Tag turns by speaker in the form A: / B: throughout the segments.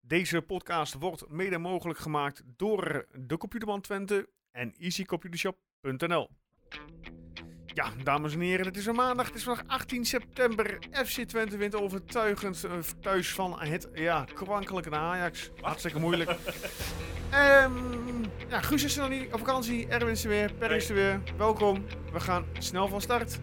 A: Deze podcast wordt mede mogelijk gemaakt door de Computerman Twente en easycomputershop.nl. Ja, dames en heren, het is een maandag. Het is vandaag 18 september. FC Twente wint overtuigend eh, thuis van het ja, kwankelijke Ajax. Hartstikke moeilijk. Ehm, ja, Guus is er nog niet op vakantie. Erwin is er weer. Per is er weer. Welkom. We gaan snel van start.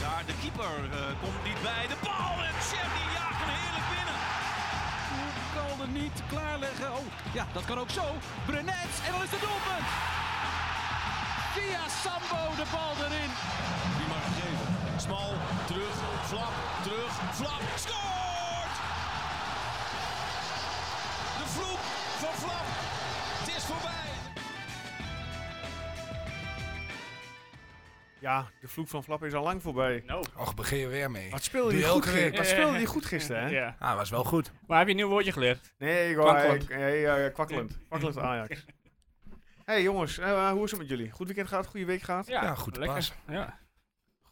B: Daar de keeper eh, komt niet bij. De bal en Chevy jaagt hem heerlijk binnen. Kan er niet klaarleggen. Oh, ja, dat kan ook zo. Brenets en dan is het doelpunt. Via Sambo de bal erin. Die mag geven. Smal, terug, flap, terug, flap. Scoort! De vloek van flap. Het is voorbij.
A: Ja, de vloek van Flap is al lang voorbij.
C: Nou,
D: Och, begin je weer mee.
A: Wat speelde
D: Doe
A: je
D: je
A: goed,
D: elke week.
A: gisteren? Wat speelde je goed gisteren, hè?
C: ja.
D: Ah, was wel goed.
C: Maar heb je een nieuw woordje geleerd?
A: Nee, ik wou-
D: Kwakkelend.
A: ik- nee, ja, ja, kwakkelend. Kwakkelend Ajax. hey, jongens, eh, hoe is het met jullie? Goed weekend gaat, goede week gaat?
D: Ja, goed
C: lekker.
D: pas.
C: Ja.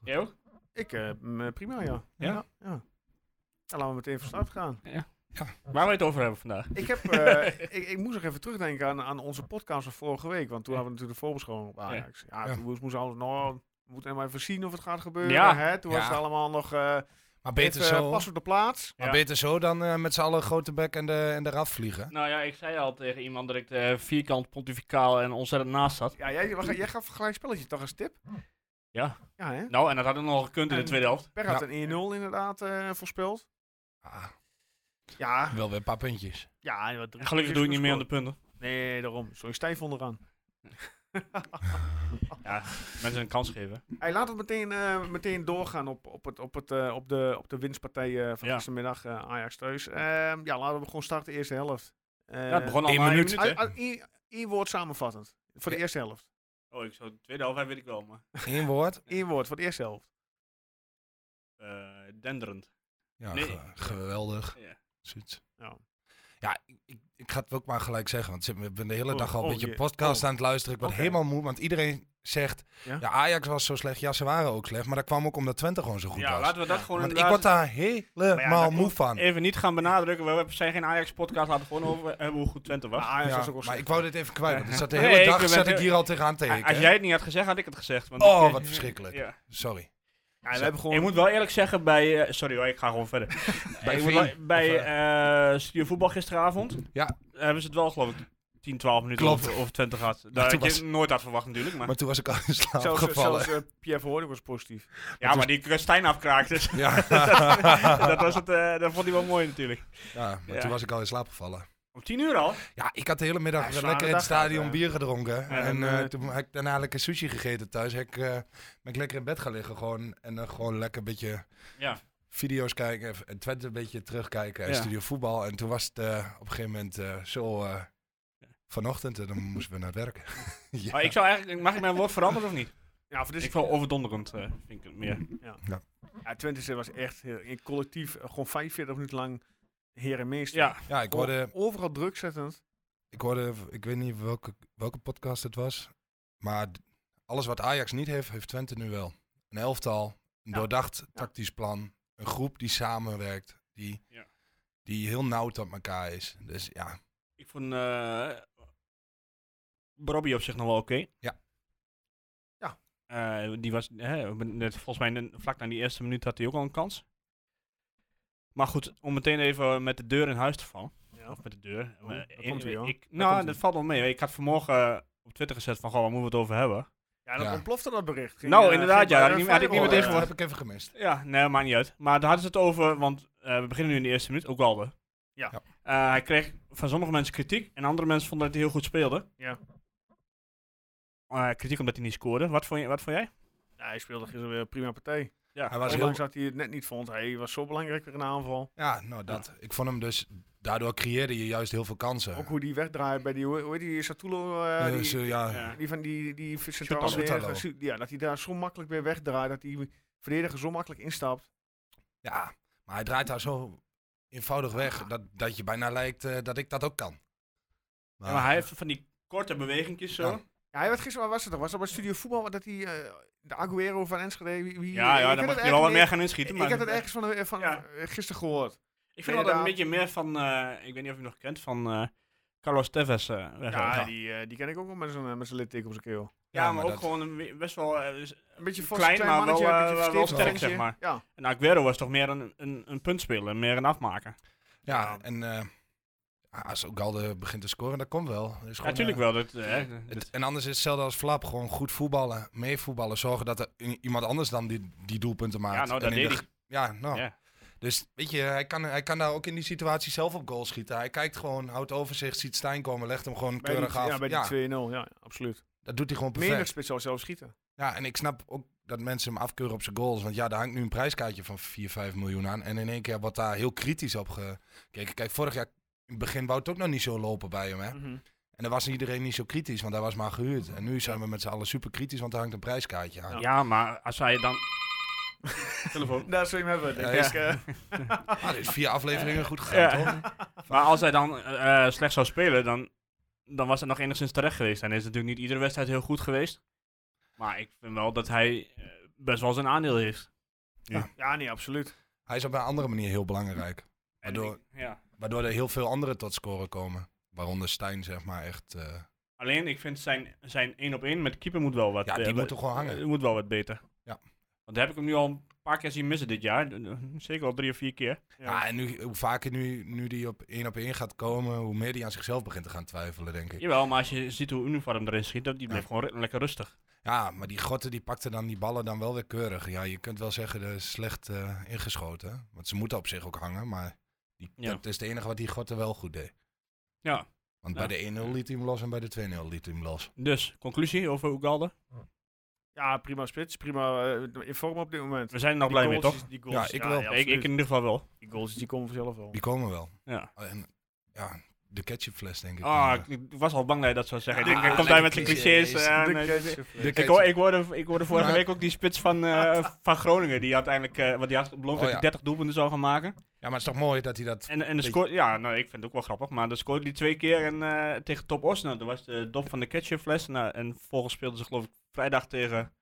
C: Jij ook?
A: Ik, eh, m, eh, prima, ja.
C: Ja?
A: Ja. ja. Nou, laten we meteen van start gaan.
C: Waar we het over hebben vandaag?
A: Ik, heb, eh, ik, ik moest nog even terugdenken aan, aan onze podcast van vorige week. Want toen
C: Ja.
A: hadden we natuurlijk de voorbeschouwing op Ajax. Ja,
D: Ja.
A: toen moest- moest alles, nou, we moeten maar even zien of het gaat gebeuren.
C: Ja.
A: Hè? Toen was
D: Ja.
A: het allemaal nog, eh beter
D: Maar beter zo,
A: pas op de plaats.
D: maar
C: Ja.
D: beter zo dan eh, met z'n allen grote bek en, de, en eraf vliegen.
C: Nou ja, ik zei al tegen iemand dat ik eh, vierkant pontificaal en ontzettend naast zat.
A: Ja, jij, wacht, jij gaf gelijk spelletje toch als tip?
C: Ja.
A: Ja, hè?
C: Nou, en dat had ik nog gekund in de
A: En-
C: tweede helft.
A: Per had
D: Ja.
A: een 1-0 inderdaad eh, voorspeld.
D: Ah,
A: Ja,
D: wel weer een paar puntjes.
A: ja. wat-
C: Gelukkig doe ik niet meer aan de punten.
A: Nee, daarom. Sorry, stijf onderaan.
C: Mensen een kans geven.
A: Hey, laten we meteen, eh, meteen doorgaan op, op, het, op, het, eh, op, de, op de winstpartij eh, van
C: Ja.
A: gistermiddag eh, Ajax thuis. Ehm, ja, laten we gewoon starten, eerste helft. Eh,
C: ja, het begon al
D: één
C: na
D: minuut.
C: hè?
A: ah, ah, één- één woord samenvattend. Voor de
D: Ja.
A: eerste helft.
C: Oh, ik zou de tweede helft, weet ik wel, maar...
D: Eén woord.
A: Eén woord voor de eerste helft.
C: eh, denderend.
D: Ja,
C: Nee.
D: ge- geweldig.
C: Ja.
D: Zoiets.
A: Ja.
D: Ja, ik- ik, ik ga het ook maar gelijk zeggen, want ik ben de hele
A: Oh,
D: dag al
A: oh,
D: een beetje
A: je-
D: podcast
A: oh.
D: aan het luisteren. Ik word
A: Oké.
D: helemaal moe, want iedereen zegt,
A: Ja?
D: ja? Ajax was zo slecht, ja ze waren ook slecht. Maar dat kwam ook omdat Twente gewoon zo goed
C: Ja,
D: was.
C: laten we dat
A: Ja,
C: gewoon
D: want ik
C: inderdaad
D: word daar helemaal
A: dat
D: moe
A: klopt.
D: van.
C: even niet gaan benadrukken. We hebben- zijn geen Ajax-podcast, laten we gewoon over hebben hoe goed Twente was.
A: Maar Ajax
D: Ja,
A: was ook wel
D: maar
A: slecht.
D: ik wou dit even kwijt, want ik zat de
C: Nee,
D: hele
C: ik
D: dag
C: ben
D: zat
C: heel-
D: ik hier al tegenaan te
C: A- Als
D: hikken.
C: jij het niet had gezegd, had ik het gezegd. Want
D: Oh,
C: ik-
D: wat verschrikkelijk.
C: Ja.
D: Sorry.
A: Ja, we hebben gewoon...
C: Ik moet wel eerlijk zeggen, bij. eh, sorry hoor, ik ga gewoon verder. bij ik moet
D: VI?
C: wel- bij
D: Of,
C: eh, Studio Voetbal gisteravond.
D: Ja.
C: Hebben ze het wel, geloof ik, 10, 12 minuten
D: Klopt.
C: over, over 20 gehad. Daar
D: toen
C: had
D: was-
C: je nooit had verwacht, natuurlijk. Maar,
D: Maar toen was ik al in slaap
A: Zelfs,
D: gevallen.
A: zelfs eh, Pierre Verhoorn was positief.
C: ja, maar die Stijn afkraakte. Dus
D: ja.
C: dat, was het, eh, dat vond hij wel mooi, natuurlijk.
D: ja, maar
C: Ja.
D: toen was ik al in slaap gevallen.
C: Om 10 uur al?
D: Ja, ik had de hele middag
A: Ja, zware
D: lekker in
A: dag
D: het stadion
A: gehad, hè.
D: bier gedronken. en
A: en,
D: eh,
A: eh,
D: toen heb ik daarna lekker sushi gegeten thuis. Heb ik, eh, ben ik lekker in bed gaan liggen gewoon. En dan gewoon lekker een beetje
C: Ja.
D: video's kijken. en- En Twente een beetje terugkijken. En
C: Ja.
D: studio voetbal. En toen was het eh, op een gegeven moment eh, zo eh, vanochtend. En dan moesten we naar het werken. ja.
A: Oh,
C: Maar ik zou eigenlijk. Mag ik mijn woord veranderen of niet? Dus
A: Ja, voor dit
C: ik vond overdonderend, eh, vind ik het meer.
A: Ja, Twente was echt heel- in collectief eh, gewoon 45 minuten lang heer en meester.
C: Ja.
D: ja, ik
A: Gewoon
D: hoorde...
A: Overal druk zettend.
D: Ik hoorde, ik weet niet welke, welke podcast het was, maar d- alles wat Ajax niet heeft, heeft Twente nu wel. Een elftal, een
A: Ja.
D: doordacht tactisch plan, een groep die samenwerkt, die,
C: Ja.
D: die heel nauw tot elkaar is. Dus ja,
C: Ik vond. eh Robbie op zich nog wel oké.
D: Ja.
A: Ja.
C: Eh, die was, hè, net, volgens mij net vlak na die eerste minuut had hij ook al een kans. Maar goed, om meteen even met de deur in huis te vallen.
A: Ja.
C: Of met de deur.
A: Oh,
C: eh,
A: daar
C: eh,
A: komt-ie, hoor.
C: ik,
A: komt-ie.
C: nou, dat valt wel mee. Ik had vanmorgen eh, op Twitter gezet van, goh, waar moeten we het over hebben?
A: Ja, dan
D: Ja.
A: ontplofte dat bericht.
C: Nou,
A: eh,
C: inderdaad,
A: ging
C: ja,
A: bij
C: had ik
A: de
C: niet- had ik niet
A: firewall,
D: Oh, dat
C: meteen
A: eh,
C: verwacht.
D: heb ik even gemist.
C: Ja, nee, maakt niet uit. Maar daar hadden ze het over, want eh, we beginnen nu in de eerste minuut, ook Walde.
A: Ja.
D: Ja.
C: Eh, hij kreeg van sommige mensen kritiek en andere mensen vonden dat hij heel goed speelde.
A: Ja.
C: Eh, kritiek omdat hij niet scoorde. Wat vond, je, wat vond jij?
A: Ja, hij speelde gisteren weer een prima partij.
C: Ja.
D: Hij was heel,
A: Ondanks dat hij het net niet vond. Hij was zo belangrijk weer in de aanval.
D: ja, nou dat. Ik vond hem dus, daardoor creëerde je juist heel veel kansen.
A: Ook hoe die wegdraait bij die, hoe hoe heet die, Satulo, eh, die,
D: Dus, eh, ja,
C: ja.
A: die van die, die centrale
C: Schutalo.
A: verdediger,
D: Schutalo.
A: Su- Ja, dat hij daar zo makkelijk weer wegdraait. Dat die verdediger zo makkelijk instapt.
D: ja, maar hij draait daar zo eenvoudig weg dat, dat je bijna lijkt eh, dat ik dat ook kan.
C: Ja, maar hij heeft van die korte bewegingjes zo.
D: Ja.
A: Ja, hij werd gisteren, waar was het toch? Was dat bij Studio Voetbal, dat hij, eh, de Aguero van Enschede... Wie, wie-
C: Ja,
A: ik heb
C: ja daar
A: het
C: mag je
A: echt
C: wel wat
A: niet-
C: meer gaan inschieten.
A: Ik
C: Maar
A: heb het ergens van, eh, van
C: Ja.
A: eh, gisteren gehoord.
C: ik
A: ben
C: vind dat
A: daar-
C: een beetje meer van, eh, ik weet niet of je hem nog kent, van eh, Carlos Tevez. eh, weg
A: Ja,
C: gaan.
A: Die, eh, die ken ik ook wel met zo'n eh, met zo'n litteken op zijn keel.
C: Ja,
D: Ja,
C: maar,
D: maar
C: ook
D: dat-
C: gewoon een we- best wel. eh, dus-
A: Een beetje vast,
C: Klein,
A: klein
C: maar wel,
A: mannetje,
C: eh,
A: een beetje
C: wel- wel
A: versteend
D: sterk,
A: ventje.
C: zeg maar.
A: Ja.
C: en Nou, Aguero was toch meer een, een, een puntspeler, meer een afmaker.
D: Ja, en eh, ja, als ook Galde begint te scoren, dat komt wel. Dat is gewoon,
C: Natuurlijk
D: eh,
C: wel. Dat, eh, dat-
D: het- en anders is hetzelfde als Flap. Gewoon goed voetballen, meevoetballen. Zorgen dat er i- iemand anders dan die, die doelpunten maakt.
C: ja, nou, dat
D: En in de
C: deed hij.
D: g- Ja, nou.
C: Ja.
D: Dus weet je, hij kan, hij kan daar ook in die situatie zelf op goal schieten. Hij kijkt gewoon, houdt overzicht, ziet Stijn komen, legt hem gewoon
A: Bij die,
D: keurig af.
A: ja, bij die
D: Ja,
A: 2-0, ja, absoluut.
D: dat doet hij gewoon perfect.
A: Menig spits zou zelf schieten.
D: Ja, en ik snap ook dat mensen hem afkeuren op zijn goals. Want ja, daar hangt nu een prijskaartje van 4, 5 miljoen aan. En in één keer wordt daar heel kritisch op gekeken. Kijk, vorig jaar in het begin wou het ook nog niet zo lopen bij hem. Hè?
A: Mhm.
D: En dan was iedereen niet zo kritisch, want hij was maar gehuurd. En nu zijn we met z'n allen super kritisch, want daar hangt een prijskaartje aan.
C: Ja. maar als hij dan. Telefoon.
A: Daar zou je hem hebben, eh.
D: denk Ja, ik, Ah, dit is vier afleveringen goed gegaan,
C: Ja.
D: toch?
C: Maar als hij dan eh, eh, slecht zou spelen, dan, dan was het nog enigszins terecht geweest. En is natuurlijk niet iedere wedstrijd heel goed geweest. Maar ik vind wel dat hij eh, best wel zijn aandeel heeft.
A: Ja, nee, absoluut.
D: Hij is op een andere manier heel belangrijk.
C: En
D: Waardoor-
C: ik- ja.
D: Waardoor er heel veel anderen tot scoren komen. Waaronder Stijn, zeg maar, echt... eh,
C: Alleen, ik vind zijn, zijn één op één met de keeper moet wel wat...
D: ja, die
C: eh,
D: moet toch gewoon
C: eh,
D: hangen.
C: moet wel wat beter.
D: Ja.
C: Want daar heb ik hem nu al een paar keer zien missen dit jaar. Eh, Zeker al drie of vier keer.
D: Ja, en nu, hoe vaker nu, nu die op één op één gaat komen, hoe meer die aan zichzelf begint te gaan twijfelen, denk ik.
C: Jawel, maar als je ziet hoe uniform erin schiet, dat- die bleef gewoon ru- lekker rustig.
D: Ja, maar die gotten die pakten dan die ballen dan wel weer keurig. Ja, je kunt wel zeggen, dat is slecht eh, ingeschoten. hè. Want ze moeten op zich ook hangen, maar die,
C: Ja.
D: dat is het enige wat die gotten wel goed deed.
C: Ja.
D: Want
C: Ja.
D: bij de 1-0 liet hij hem los en bij de 2-0 liet hij hem los.
C: Dus, conclusie over Ugalde.
A: Ja, prima spits. Prima eh, in vorm op dit moment.
C: We zijn er nog blij mee,
A: goals
C: toch?
A: is- Die goals,
D: Ja, ik wel.
C: ik, ik in
A: absoluut.
C: ieder geval wel.
A: Die goals die komen vanzelf wel.
D: Die komen wel.
C: Ja.
D: En, ja, de ketchupfles, denk ik. eh,
C: Ah,
D: dan,
C: ik, ik was al bang dat je dat zou zeggen.
D: Ja,
C: ik denk, hij
D: ah,
C: komt daar met
D: lekker
C: zijn clichés.
D: clichés.
C: eh,
A: De
C: nee,
A: catch-
C: nee.
D: eh. De
C: ik,
D: catch-
C: hoor, ik, hoorde, ik hoorde vorige
D: Maar- Ah.
C: week ook die spits van, eh, van Groningen. Die had uiteindelijk, eh, want die had beloofd
D: Oh,
C: dat
D: ja.
C: hij 30 doelpunten zou gaan maken.
D: Ja, maar het is toch mooi dat hij dat...
C: En, en de
D: Beetje-
C: score, ja, nou, ik vind het ook wel grappig, maar dan scoorde hij twee keer en, eh, tegen Top Os. Nou, dat was de dop van de ketchupfles. Nou, en vervolgens speelden ze geloof ik vrijdag tegen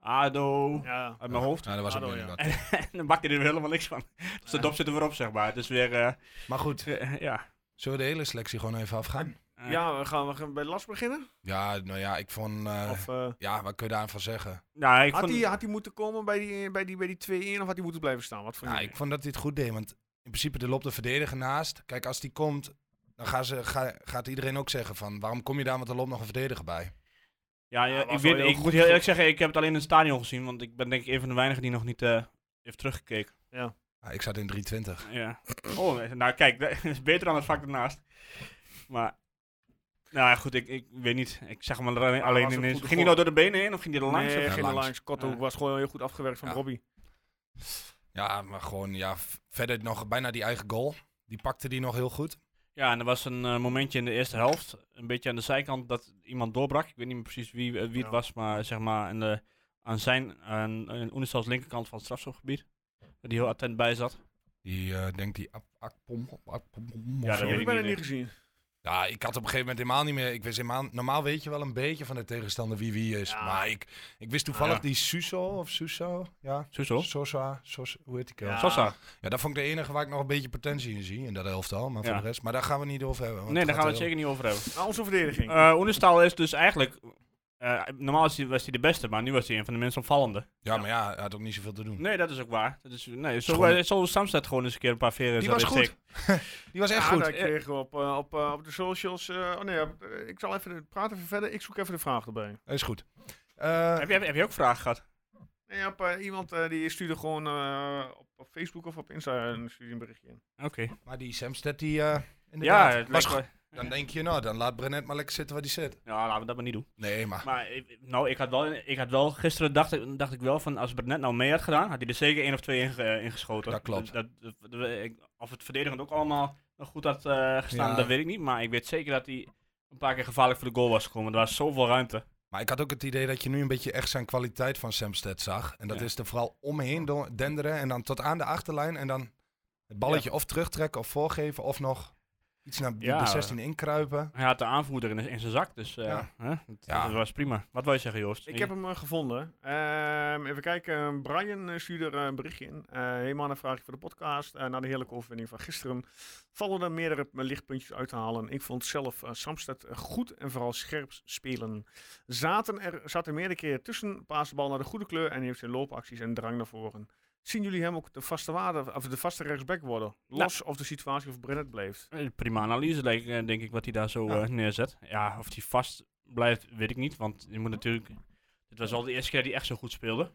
C: ADO
A: Ja.
C: uit mijn hoofd.
D: Ja, dat was ook
A: Ado,
D: weer
A: ja.
D: wat.
C: en dan bakte hij er helemaal niks van. Dus de dop zit er weer op, zeg maar. Het is weer, eh,
D: Maar goed,
C: eh, ja.
D: zullen we de hele selectie gewoon even afgaan?
C: Eh,
A: ja, we gaan we bij Las beginnen?
D: Ja, nou ja, ik vond... eh,
A: Of, eh,
D: Ja, wat kun je daarvan zeggen?
C: Nou, ik
A: had
C: vond,
A: hij had die moeten komen bij die, bij die, bij die 2-1 of had hij moeten blijven staan? Wat vond
D: Ja,
A: je?
D: Nou, ik vond dat hij het goed deed, want in principe er loopt de verdediger naast. Kijk, als die komt, dan gaan ze, ga, gaat iedereen ook zeggen van, waarom kom je daar, want er loopt nog een verdediger bij.
C: ja,
A: Ja,
C: ja, ik,
A: was
C: weet,
A: wel heel
C: ik
A: goed
C: moet heel eerlijk
A: goed.
C: zeggen, ik heb het alleen in het stadion gezien, want ik ben denk ik een van de weinigen die nog niet eh, heeft teruggekeken.
D: Ah, ik zat in 320.
C: Ja. Oh, nou kijk, dat is beter dan het vak ernaast. Maar, nou ja, goed, ik, ik weet niet. Ik zag hem
A: was
C: alleen, alleen
A: een
C: ineens.
A: goede
C: Ging hij
A: goal.
C: nou door de benen heen of ging hij er langs?
A: Nee,
C: Of-
A: geen
D: langs.
A: langs. Kotto
C: Ja.
A: was gewoon heel goed afgewerkt van
D: Ja.
A: Robbie.
D: Ja, maar gewoon, ja, v- verder nog bijna die eigen goal. Die pakte die nog heel goed.
C: Ja, en er was een eh, momentje in de eerste helft, een beetje aan de zijkant, dat iemand doorbrak. Ik weet niet meer precies wie, eh, wie het
A: Ja.
C: was, maar zeg maar aan, de, aan zijn, aan, aan Oenestals linkerkant van het strafschopgebied. Waar die heel attent bij zat.
D: Die eh, denkt die ap, akpom, akpom,
C: Ja,
D: ja,
C: dat
A: Die
C: weet
A: heb
C: ik
A: ik bijna
C: niet,
A: niet gezien.
D: ja, ik had op een gegeven moment helemaal niet meer, ik wist helemaal, normaal weet je wel een beetje van de tegenstander wie wie is.
A: Ja.
D: Maar ik, ik wist toevallig
C: Ja.
D: die Suso of Suso, ja.
C: Sowieso.
D: Sosa, Sosa, hoe heet die kerel?
A: Ja.
C: Sosa.
D: Ja, dat vond ik de enige waar ik nog een beetje potentie in zie, in dat elftal. Maar
C: Ja.
D: voor de rest, maar daar gaan we niet over hebben. want
C: Nee, daar gaan we het
D: gaat heel-
C: zeker niet over hebben.
A: Maar Ah, onze verdediging.
C: Eh Oenestaal is dus eigenlijk, eh, normaal is hij- was hij de beste, maar nu was hij een van de minst opvallende.
D: Ja, maar ja, hij had ook niet zoveel te doen.
C: Nee, dat is ook waar. Dat is, nee, zo,
D: gewoon-
C: eh, zo Samstad gewoon eens een keer een paar veren
D: Die
C: zou
D: was
C: dit
D: goed.
C: zeker-
D: Die was echt
A: ja,
D: goed.
A: Ah, daar kregen we op, eh, op, eh, op de socials. eh, oh nee, op, eh, ik zal even praten even verder. Ik zoek even de vraag erbij.
D: Hij is goed. Eh,
C: Heb, je, heb je ook vragen gehad?
A: Nee, op, eh, iemand eh, die stuurde gewoon eh, op, op Facebook of op Insta een, stuurde een berichtje in.
C: Oké.
D: maar die Samsted, die eh
C: Ja,
D: inderdaad, was
C: het lijkt
D: goed.
C: wel-
D: Dan denk je, nou, dan laat Brenet maar lekker zitten waar hij zit.
C: Ja, laten we dat maar niet doen.
D: Nee, maar...
C: Maar eh, nou, ik had wel, ik had wel gisteren dacht, ik- dacht ik wel van als Bernet nou mee had gedaan, had hij er zeker één of twee in, ge- in geschoten.
D: Dat klopt.
C: Dat, dat- dat- ik- of het verdedigend ook allemaal nog goed had eh, gestaan,
D: Ja.
C: dat weet ik niet. Maar ik weet zeker dat hij een paar keer gevaarlijk voor de goal was gekomen. Er was zoveel ruimte.
D: Maar ik had ook het idee dat je nu een beetje echt zijn kwaliteit van Samsted zag. En dat
C: Ja.
D: is er vooral omheen do- denderen en dan tot aan de achterlijn. En dan het balletje of terugtrekken of voorgeven of nog... iets naar de
C: Ja,
D: 16 inkruipen.
C: Hij had de aanvoerder in, in zijn zak, dus eh,
D: Ja.
C: hè, dat,
D: Ja.
C: dat was prima. Wat wil je zeggen, Joost?
A: Ik heb hem eh, gevonden. Ehm, even kijken. Brian eh, stuurde er eh, een berichtje in. Eh hey mannen, vraag ik voor de podcast. Eh, na de heerlijke overwinning van gisteren vallen er meerdere eh, lichtpuntjes uit te halen. Ik vond zelf eh, Samsted eh, goed en vooral scherp spelen. Zaten er, zat er meerdere keren tussen. Paas de bal naar de goede kleur en heeft zijn loopacties en drang naar voren. Zien jullie hem ook de vaste, waarde, of de vaste rechtsback worden? Los of de situatie of Brennet blijft.
C: Eh, Prima analyse, leek, eh, denk ik, wat hij daar zo
A: Ja.
C: eh, neerzet. Ja, of hij vast blijft, weet ik niet. Want je moet natuurlijk... Dit was al de eerste keer die echt zo goed speelde.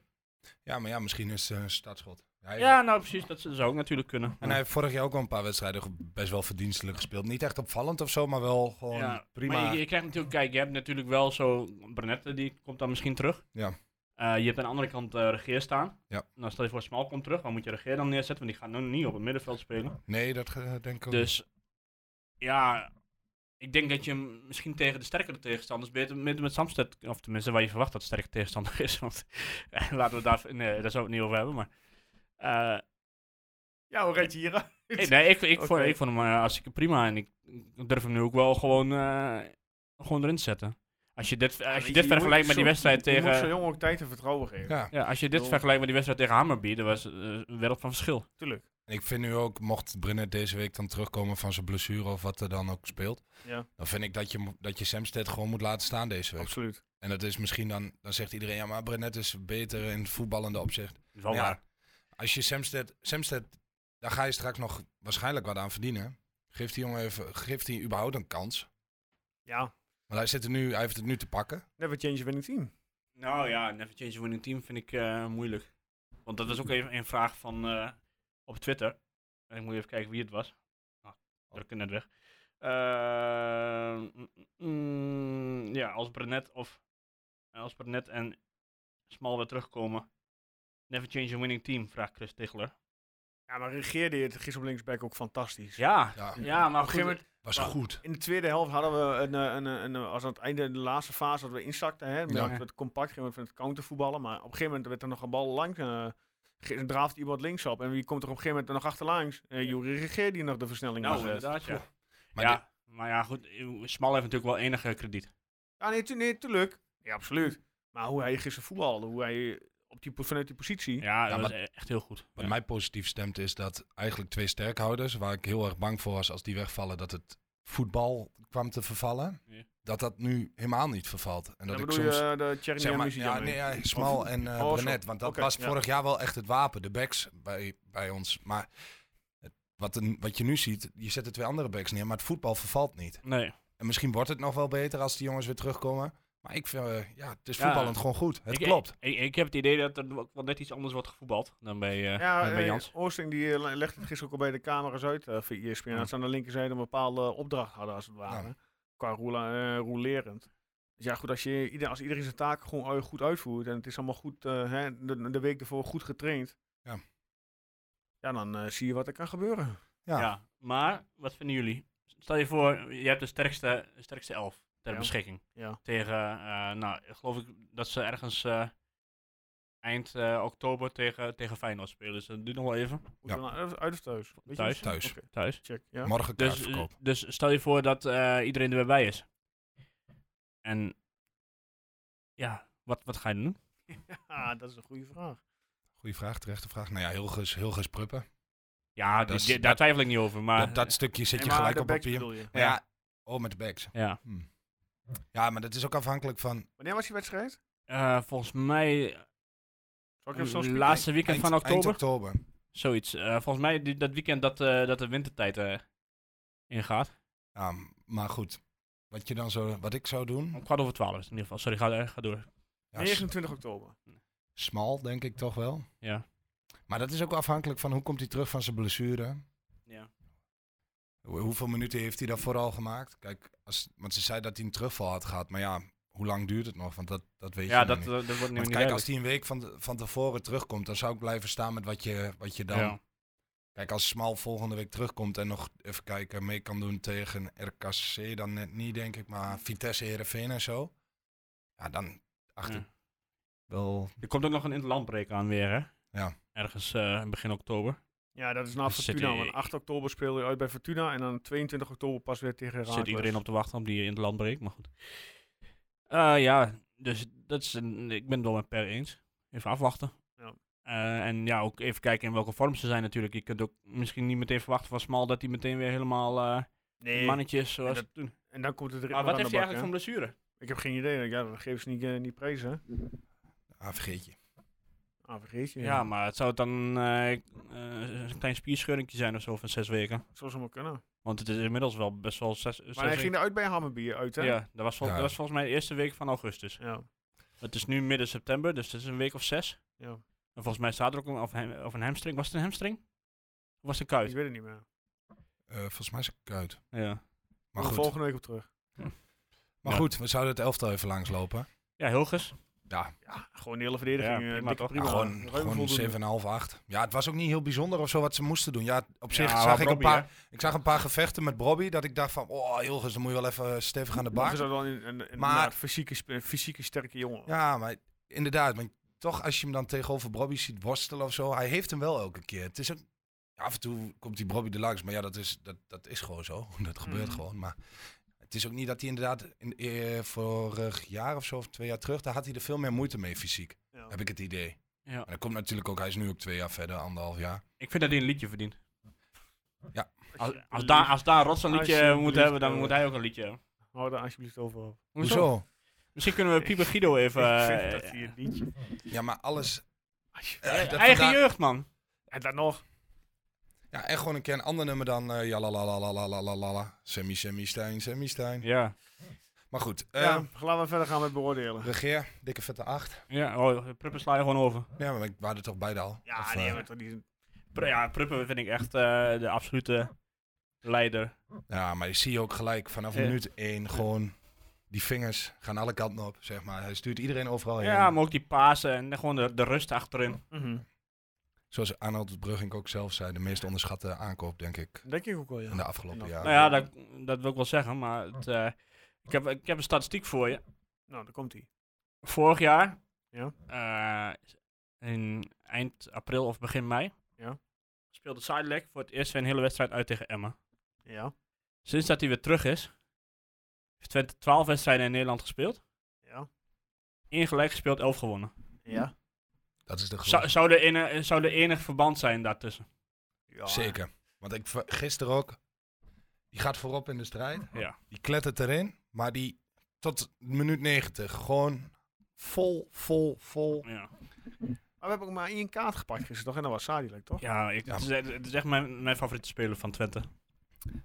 D: Ja, maar ja, misschien is het een startschot. Hij heeft-
C: Ja, nou precies. Dat zou ook natuurlijk kunnen.
D: En hij heeft vorig jaar ook al een paar wedstrijden ge- best wel verdienstelijk gespeeld. Niet echt opvallend of zo, maar wel gewoon
C: ja,
D: prima.
C: Maar je, je krijgt natuurlijk... Kijk, je hebt natuurlijk wel zo... Bernette, die komt dan misschien terug.
D: Ja.
C: Eh, je hebt aan de andere kant eh Regeer staan.
D: Ja.
C: Nou, stel je voor, Smal komt terug. Waar moet je Regeer dan neerzetten? Want die gaat nu niet op het middenveld spelen.
D: Nee, dat eh, denk ik ook.
C: Dus ja, ik denk dat je hem misschien tegen de sterkere tegenstanders beter met, met Samsted, of tenminste waar je verwacht dat het sterke tegenstander is, want eh, laten we daar, nee, daar zou ik het niet over hebben, maar eh,
A: Ja, hoe red je hier aan?
C: ik- nee, ik, ik, vond,
A: Oké.
C: ik vond hem eh, hartstikke prima en ik, ik durf hem nu ook wel gewoon, eh, gewoon erin te zetten. Als je dit, als je dit vergelijkt met die wedstrijd
A: Je moet zo'n
C: tegen,
A: jongen ook tijd en vertrouwen geven.
D: ja,
C: ja, als je
A: Ik
C: dit
A: bedoel-
C: vergelijkt met die wedstrijd tegen Hammerby, dat was eh, een wereld van verschil.
A: Tuurlijk.
D: en ik vind nu ook, mocht Brennet deze week dan terugkomen van zijn blessure of wat er dan ook speelt,
A: Ja,
D: dan vind ik dat je, mo- dat je Samsted gewoon moet laten staan deze week.
A: absoluut.
D: En dat is misschien dan, dan zegt iedereen, ja, maar Brennet is beter in het voetballende opzicht.
C: Dat is wel
D: Ja.
C: waar.
D: Als je Samsted, Samsted, daar ga je straks nog waarschijnlijk wat aan verdienen. Geef die jongen even, geef die überhaupt een kans.
A: Ja,
D: Want hij, zit er nu, hij heeft het nu te pakken.
A: never change a winning team.
C: Nou ja, never change a winning team vind ik eh, moeilijk. Want dat was ook even een vraag van eh, op Twitter. En ik moet even kijken wie het was. Ah, druk het net weg. Ehm, mm, mm, ja, als Brenet of eh, als Brenet en Smal weer terugkomen. Never change a winning team, vraagt Chris Tichler.
A: Ja, maar regeerde je het gisteren op linksback ook fantastisch.
C: Ja,
D: Ja,
C: ja maar
A: Op een gegeven
C: goed,
A: moment,
D: was
C: Nou,
A: Ja.
D: goed.
A: in de tweede helft hadden we, een, eh, een, eh, een, eh, als aan het einde de laatste fase dat we inzakten, hè,
D: Ja.
A: dat we het compact gingen van het countervoetballen, maar op een gegeven moment werd er nog een bal lang, eh, ge- dan draaft iemand links op en wie komt er op een gegeven moment nog achterlangs? Eh Jury regeerde die nog de versnelling
C: nou
A: was.
C: inderdaad ja.
D: Maar
C: ja maar ja, goed, Smal heeft natuurlijk wel enige krediet.
A: Ja, nee, tu- nee, tuurlijk. Ja, absoluut. Maar hoe hij gisteren voetbalde, hoe hij op die, po- vanuit die positie...
C: Ja, dat
D: maar-
C: was e- echt heel goed.
D: Wat
C: Ja.
D: mij positief stemt is dat eigenlijk twee sterkhouders, waar ik heel erg bang voor was als die wegvallen, dat het voetbal kwam te vervallen,
C: Ja.
D: dat dat nu helemaal niet vervalt. En dat
A: dan
D: ik
A: bedoel
D: soms,
A: je eh, de Thierry
D: zeg maar,
A: Henry
D: ja, nee, ja, Smal en eh
A: Oh, zo.
D: Brenet, want dat
A: Oké,
D: was
A: ja.
D: vorig jaar wel echt het wapen, de backs bij, bij ons. Maar het- wat, een, wat je nu ziet, je zet de twee andere backs neer, maar het voetbal vervalt niet.
C: Nee,
D: En misschien wordt het nog wel beter als die jongens weer terugkomen. Maar ik vind, eh, ja, het is
C: Ja.
D: voetballend gewoon goed. Het
C: Ik-
D: klopt.
C: Ik, ik heb het idee dat er wel wel net iets anders wordt gevoetbald dan bij, eh,
A: Ja,
C: bij, bij
A: eh,
C: Jans.
A: Oosting die eh, le- legde het gisteren ook al bij de camera's uit eh via ESPN.
C: Ja.
A: Dat ze aan de linkerzijde een bepaalde opdracht hadden, als het ware. Qua roula, eh, rolerend. Dus ja, goed, als, je, ieder- als iedereen zijn taken gewoon eh, goed uitvoert en het is allemaal goed, eh, hè, de, de week ervoor goed getraind.
D: Ja.
A: Ja, dan eh, zie je wat er kan gebeuren.
D: Ja.
C: Ja. maar wat vinden jullie? Stel je voor, je hebt de sterkste, sterkste elf ter
A: Ja.
C: beschikking.
A: Ja.
C: Tegen, eh, nou, ik geloof ik dat ze ergens eh, eind eh, oktober tegen, tegen Feyenoord spelen. Dus dat duurt nog wel even,
A: Moet je dan nou uit, uit of thuis? Weet je
C: Thuis.
A: dat?
D: Thuis.
A: Oké,
C: thuis.
A: check, ja.
D: Morgen
C: Dus,
D: kaartverkoop.
C: eh, dus stel je voor dat eh, iedereen er weer bij is. En ja, wat, wat ga je dan doen?
A: Ah, dat is een goede vraag.
D: Goeie vraag, terechte vraag. Nou ja, heel ges, heel ges pruppen.
C: Ja,
D: Dat
C: die-
D: is-
C: die- daar
D: dat-
C: twijfel ik niet over. Maar,
D: dat, dat stukje zit
A: Nee,
D: je
A: maar
D: gelijk
A: de
D: op
A: backs
D: papier.
A: bedoel je.
D: Ja. ja, oh met de backs.
C: eh, ja.
D: Hm. Ja, maar dat is ook afhankelijk van
A: Wanneer was die wedstrijd?
C: Eh, volgens mij
A: Zal ik even zo
C: Het Eh, laatste weekend
D: eind,
C: van
D: eind
C: oktober.
D: oktober.
C: Zoiets. Eh, volgens mij die- dat weekend dat, eh, dat de wintertijd eh, ingaat.
D: Ja, m- Ehm, maar goed, wat, je dan zo, wat ik zou doen,
C: Om kwart over twaalf is het in ieder geval. Sorry, ga, eh, ga door.
D: ja, s-
A: 29 oktober.
D: smal denk ik toch wel.
C: Ja.
D: Maar dat is ook afhankelijk van hoe komt hij terug van zijn blessure.
C: Ja.
D: Hoe- Hoeveel minuten heeft hij daarvoor al gemaakt? Kijk, als, want ze zei dat hij een terugval had gehad. Maar ja, hoe lang duurt het nog? Want dat, dat weet
C: Ja,
D: je nog
C: dat,
D: niet.
C: eh, dat wordt nu
D: Want
C: niet
D: kijk,
C: duidelijk.
D: als hij een week van, de- van tevoren terugkomt, dan zou ik blijven staan met wat je, wat je dan...
C: Ja.
D: Kijk, als Smal volgende week terugkomt en nog even kijken mee kan doen tegen RKC, dan net niet denk ik, maar Vitesse, Heerenveen en zo. Ja, dan achter
C: Ja.
D: wel...
C: Er komt ook nog een interlandbreek aan weer, hè?
D: Ja.
C: Ergens eh, begin oktober.
A: Ja, dat is na
C: Dus zit
A: Fortuna.
C: hij-
A: Want 8 oktober speel je uit bij Fortuna en dan 22 oktober pas weer tegen Raakles.
C: zit iedereen op te wachten om die in het land breekt, maar goed. Eh, ja, dus dat is een, ik ben het wel met Per eens. Even afwachten.
A: Ja.
C: Eh, en ja, ook even kijken in welke vorm ze zijn natuurlijk. Je kunt ook misschien niet meteen verwachten van Smal dat hij meteen weer helemaal eh
A: Nee,
C: mannetjes zoals
A: dat-
C: toen.
A: en dan komt het ritme
C: Maar wat
A: aan de
C: heeft hij
A: bak,
C: eigenlijk
A: hè?
C: van blessure?
A: Ik heb geen idee. Ja, dat geven ze niet, eh, niet prijs, hè?
D: Ah, vergeet je.
A: Ah, vergeet je.
C: Ja, maar het zou het dan eh, eh, een klein spierscheurinkje zijn of zo van zes weken.
A: Zou zomaar kunnen.
C: Want het is inmiddels wel best wel zes, zes
A: Maar hij
C: weken.
A: ging eruit bij Hammerbier uit, hè?
C: Ja, dat was, vol-
D: Ja.
C: dat was volgens mij de eerste week van augustus.
A: Ja.
C: Het is nu midden september, dus het is een week of zes.
A: ja.
C: En volgens mij staat er ook een, of, hem- of een hamstring. Was het een hamstring? Of was het een
A: Ik
C: kuit?
A: weet het niet meer.
D: Eh, volgens mij is het kuit.
C: Ja.
D: Maar
A: Maar
D: goed.
A: volgende week op terug.
D: maar
C: Ja.
D: goed, we zouden het elftal even langslopen.
C: Ja, Hilgers.
D: Ja,
A: Ja, gewoon de hele verdediging.
C: Ja,
A: eh,
C: prima
A: dikke
D: ja
C: toch?
A: prima.
D: gewoon,
A: Ruim voldoende.
D: gewoon 7,5, 8. Ja, het was ook niet heel bijzonder of zo wat ze moesten doen. Ja, op zich
C: Ja, maar
D: zag ik een
C: Robbie,
D: paar, ik zag een paar gevechten met Bobby. Dat ik dacht van, oh Hilgers, dan moet je wel even stevig aan de
A: Maar
D: bak.
A: ze zijn wel een, een, een
D: Maar-
A: maar, fysieke, sp- een fysieke sterke jongen.
D: Ja, maar inderdaad. Want toch, als je hem dan tegenover Bobby ziet worstelen of zo, hij heeft hem wel elke keer. Het is ook, ja, af en toe komt die Bobby er langs. Maar ja, dat is, dat, dat is gewoon zo. Dat gebeurt
C: Mm.
A: Mhm.
D: gewoon. Maar het is ook niet dat hij inderdaad in, eh, vorig jaar of zo, of twee jaar terug, daar had hij er veel meer moeite mee fysiek.
A: Ja.
D: Heb ik het idee.
C: Oh. Ja.
D: En dat komt natuurlijk ook, hij is nu ook twee jaar verder, anderhalf jaar.
C: Ik vind dat hij een liedje verdient. Als, als, daar,
A: Alsjeblieft,
C: als daar Rots een liedje
A: Alsjeblieft,
C: moet hebben, dan
A: eh,
C: moet hij ook een liedje hebben.
A: Hou daar alsjeblieft over op.
D: Hoezo?
C: Misschien kunnen we Pieper Guido even...
A: ik
C: eh,
A: vind dat hij het liedje...
D: Ja, maar alles...
A: Alsjeblieft.
D: eh, dat
C: eigen
D: vandaag-
C: jeugd, man.
A: En dan nog.
D: Ja, en gewoon een keer een ander nummer dan eh, ja la la la la la la la la la. Semi, semi, Stijn, semi, Stijn.
C: Ja.
D: Maar goed, eh,
A: Ja, laten we verder gaan met beoordelen.
D: regeer, dikke vette acht.
C: ja. Oh, Pruppen sla je gewoon over.
D: Ja, maar ik waren er toch beide al.
A: Ja,
D: Of,
A: nee,
D: eh,
A: maar toch niet...
C: Pr- ja, Pruppen vind ik echt eh, de absolute leider.
D: ja, maar je ziet ook gelijk vanaf
C: Ja.
D: minuut één gewoon die vingers gaan alle kanten op, zeg maar. Hij stuurt iedereen overal
A: Oh,
D: heen.
C: Ja, maar ook die Pasen en gewoon de, de rust achterin.
A: Mhm.
D: Zoals Arnold Brugging ook zelf zei, de meest onderschatte aankoop, denk ik,
A: Denk ik ook wel, ja.
D: in de afgelopen
A: Nou
D: jaren.
C: Nou ja, dat, dat wil ik wel zeggen, maar het, eh, ik, heb, ik heb een statistiek voor je.
A: Nou, daar komt hij.
C: vorig jaar,
A: Ja.
C: eh, in eind april of begin mei,
A: Ja.
C: speelde Sidelec voor het eerst weer een hele wedstrijd uit tegen Emma.
A: Ja.
C: Sinds dat hij weer terug is, heeft Twente 12 wedstrijden in Nederland gespeeld.
A: Ja.
C: Eén gelijk gespeeld, 11 gewonnen.
A: Ja.
D: Dat is de
C: Zou,
D: grote.
C: zou, de ene, eh, zou de enig verband zijn daartussen?
A: ja.
D: Zeker. Want ik ver- gisteren ook, die gaat voorop in de strijd.
C: Ja.
D: Die klettert erin, maar die tot minuut 90 gewoon vol, vol, vol.
C: Ja,
A: Maar we hebben ook maar één kaart gepakt gisteren, toch? En dat was Sadilek, toch?
C: ja, ik,
D: Ja.
C: Het, is, het is echt mijn, mijn favoriete speler van Twente.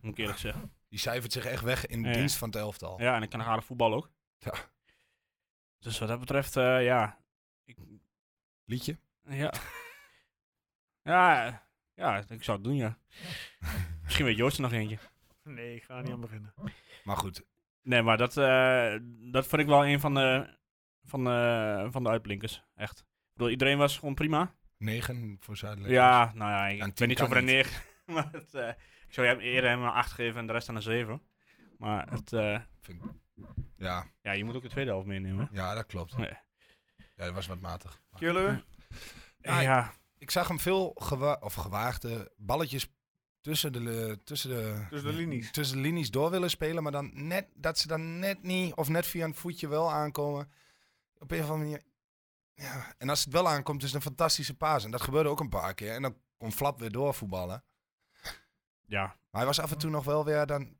C: Moet ik eerlijk zeggen.
D: Die cijfert zich echt weg in de
C: Ja.
D: dienst van het elftal.
C: Ja, en ik kan aardig voetbal ook.
D: Oh. Ja.
C: Dus wat dat betreft, eh, ja. Ik,
D: Liedje?
C: Ja. ja, ja, ik zou het doen, ja. Misschien weet Joost er nog eentje.
A: Nee, ik ga er niet aan beginnen.
D: Maar goed,
C: Nee, maar dat, eh, dat vond ik wel een van de, van de, van de uitblinkers, echt. Ik bedoel, iedereen was gewoon prima.
D: 9 voor Zuidelijk.
C: Ja, nou ja, ik
D: Ja, een
C: ben
D: tien
C: niet zo
D: kan
C: voor een
D: niet.
C: neer. maar het, eh, ik zou hem eerder hem een 8 geven en de rest aan een 7.
D: Oh.
C: Maar het, eh,
D: Ja,
C: ja, je moet ook de tweede helft meenemen.
D: Ja, dat klopt.
C: Nee.
D: Ja, dat was wat matig. Maar-
A: Jullie?
D: Ja,
C: ja,
D: Ik zag hem veel gewa of gewaagde balletjes tussen de, le- tussen, de,
A: Tussen de linies.
D: tussen de linies door willen spelen, maar dan net, dat ze dan net niet of net via een voetje wel aankomen. Op een of andere manier. Ja. En als het wel aankomt, is het een fantastische paas. En dat gebeurde ook een paar keer. En dan kon Flap weer doorvoetballen.
C: ja.
D: Maar hij was af en toe nog wel weer dan,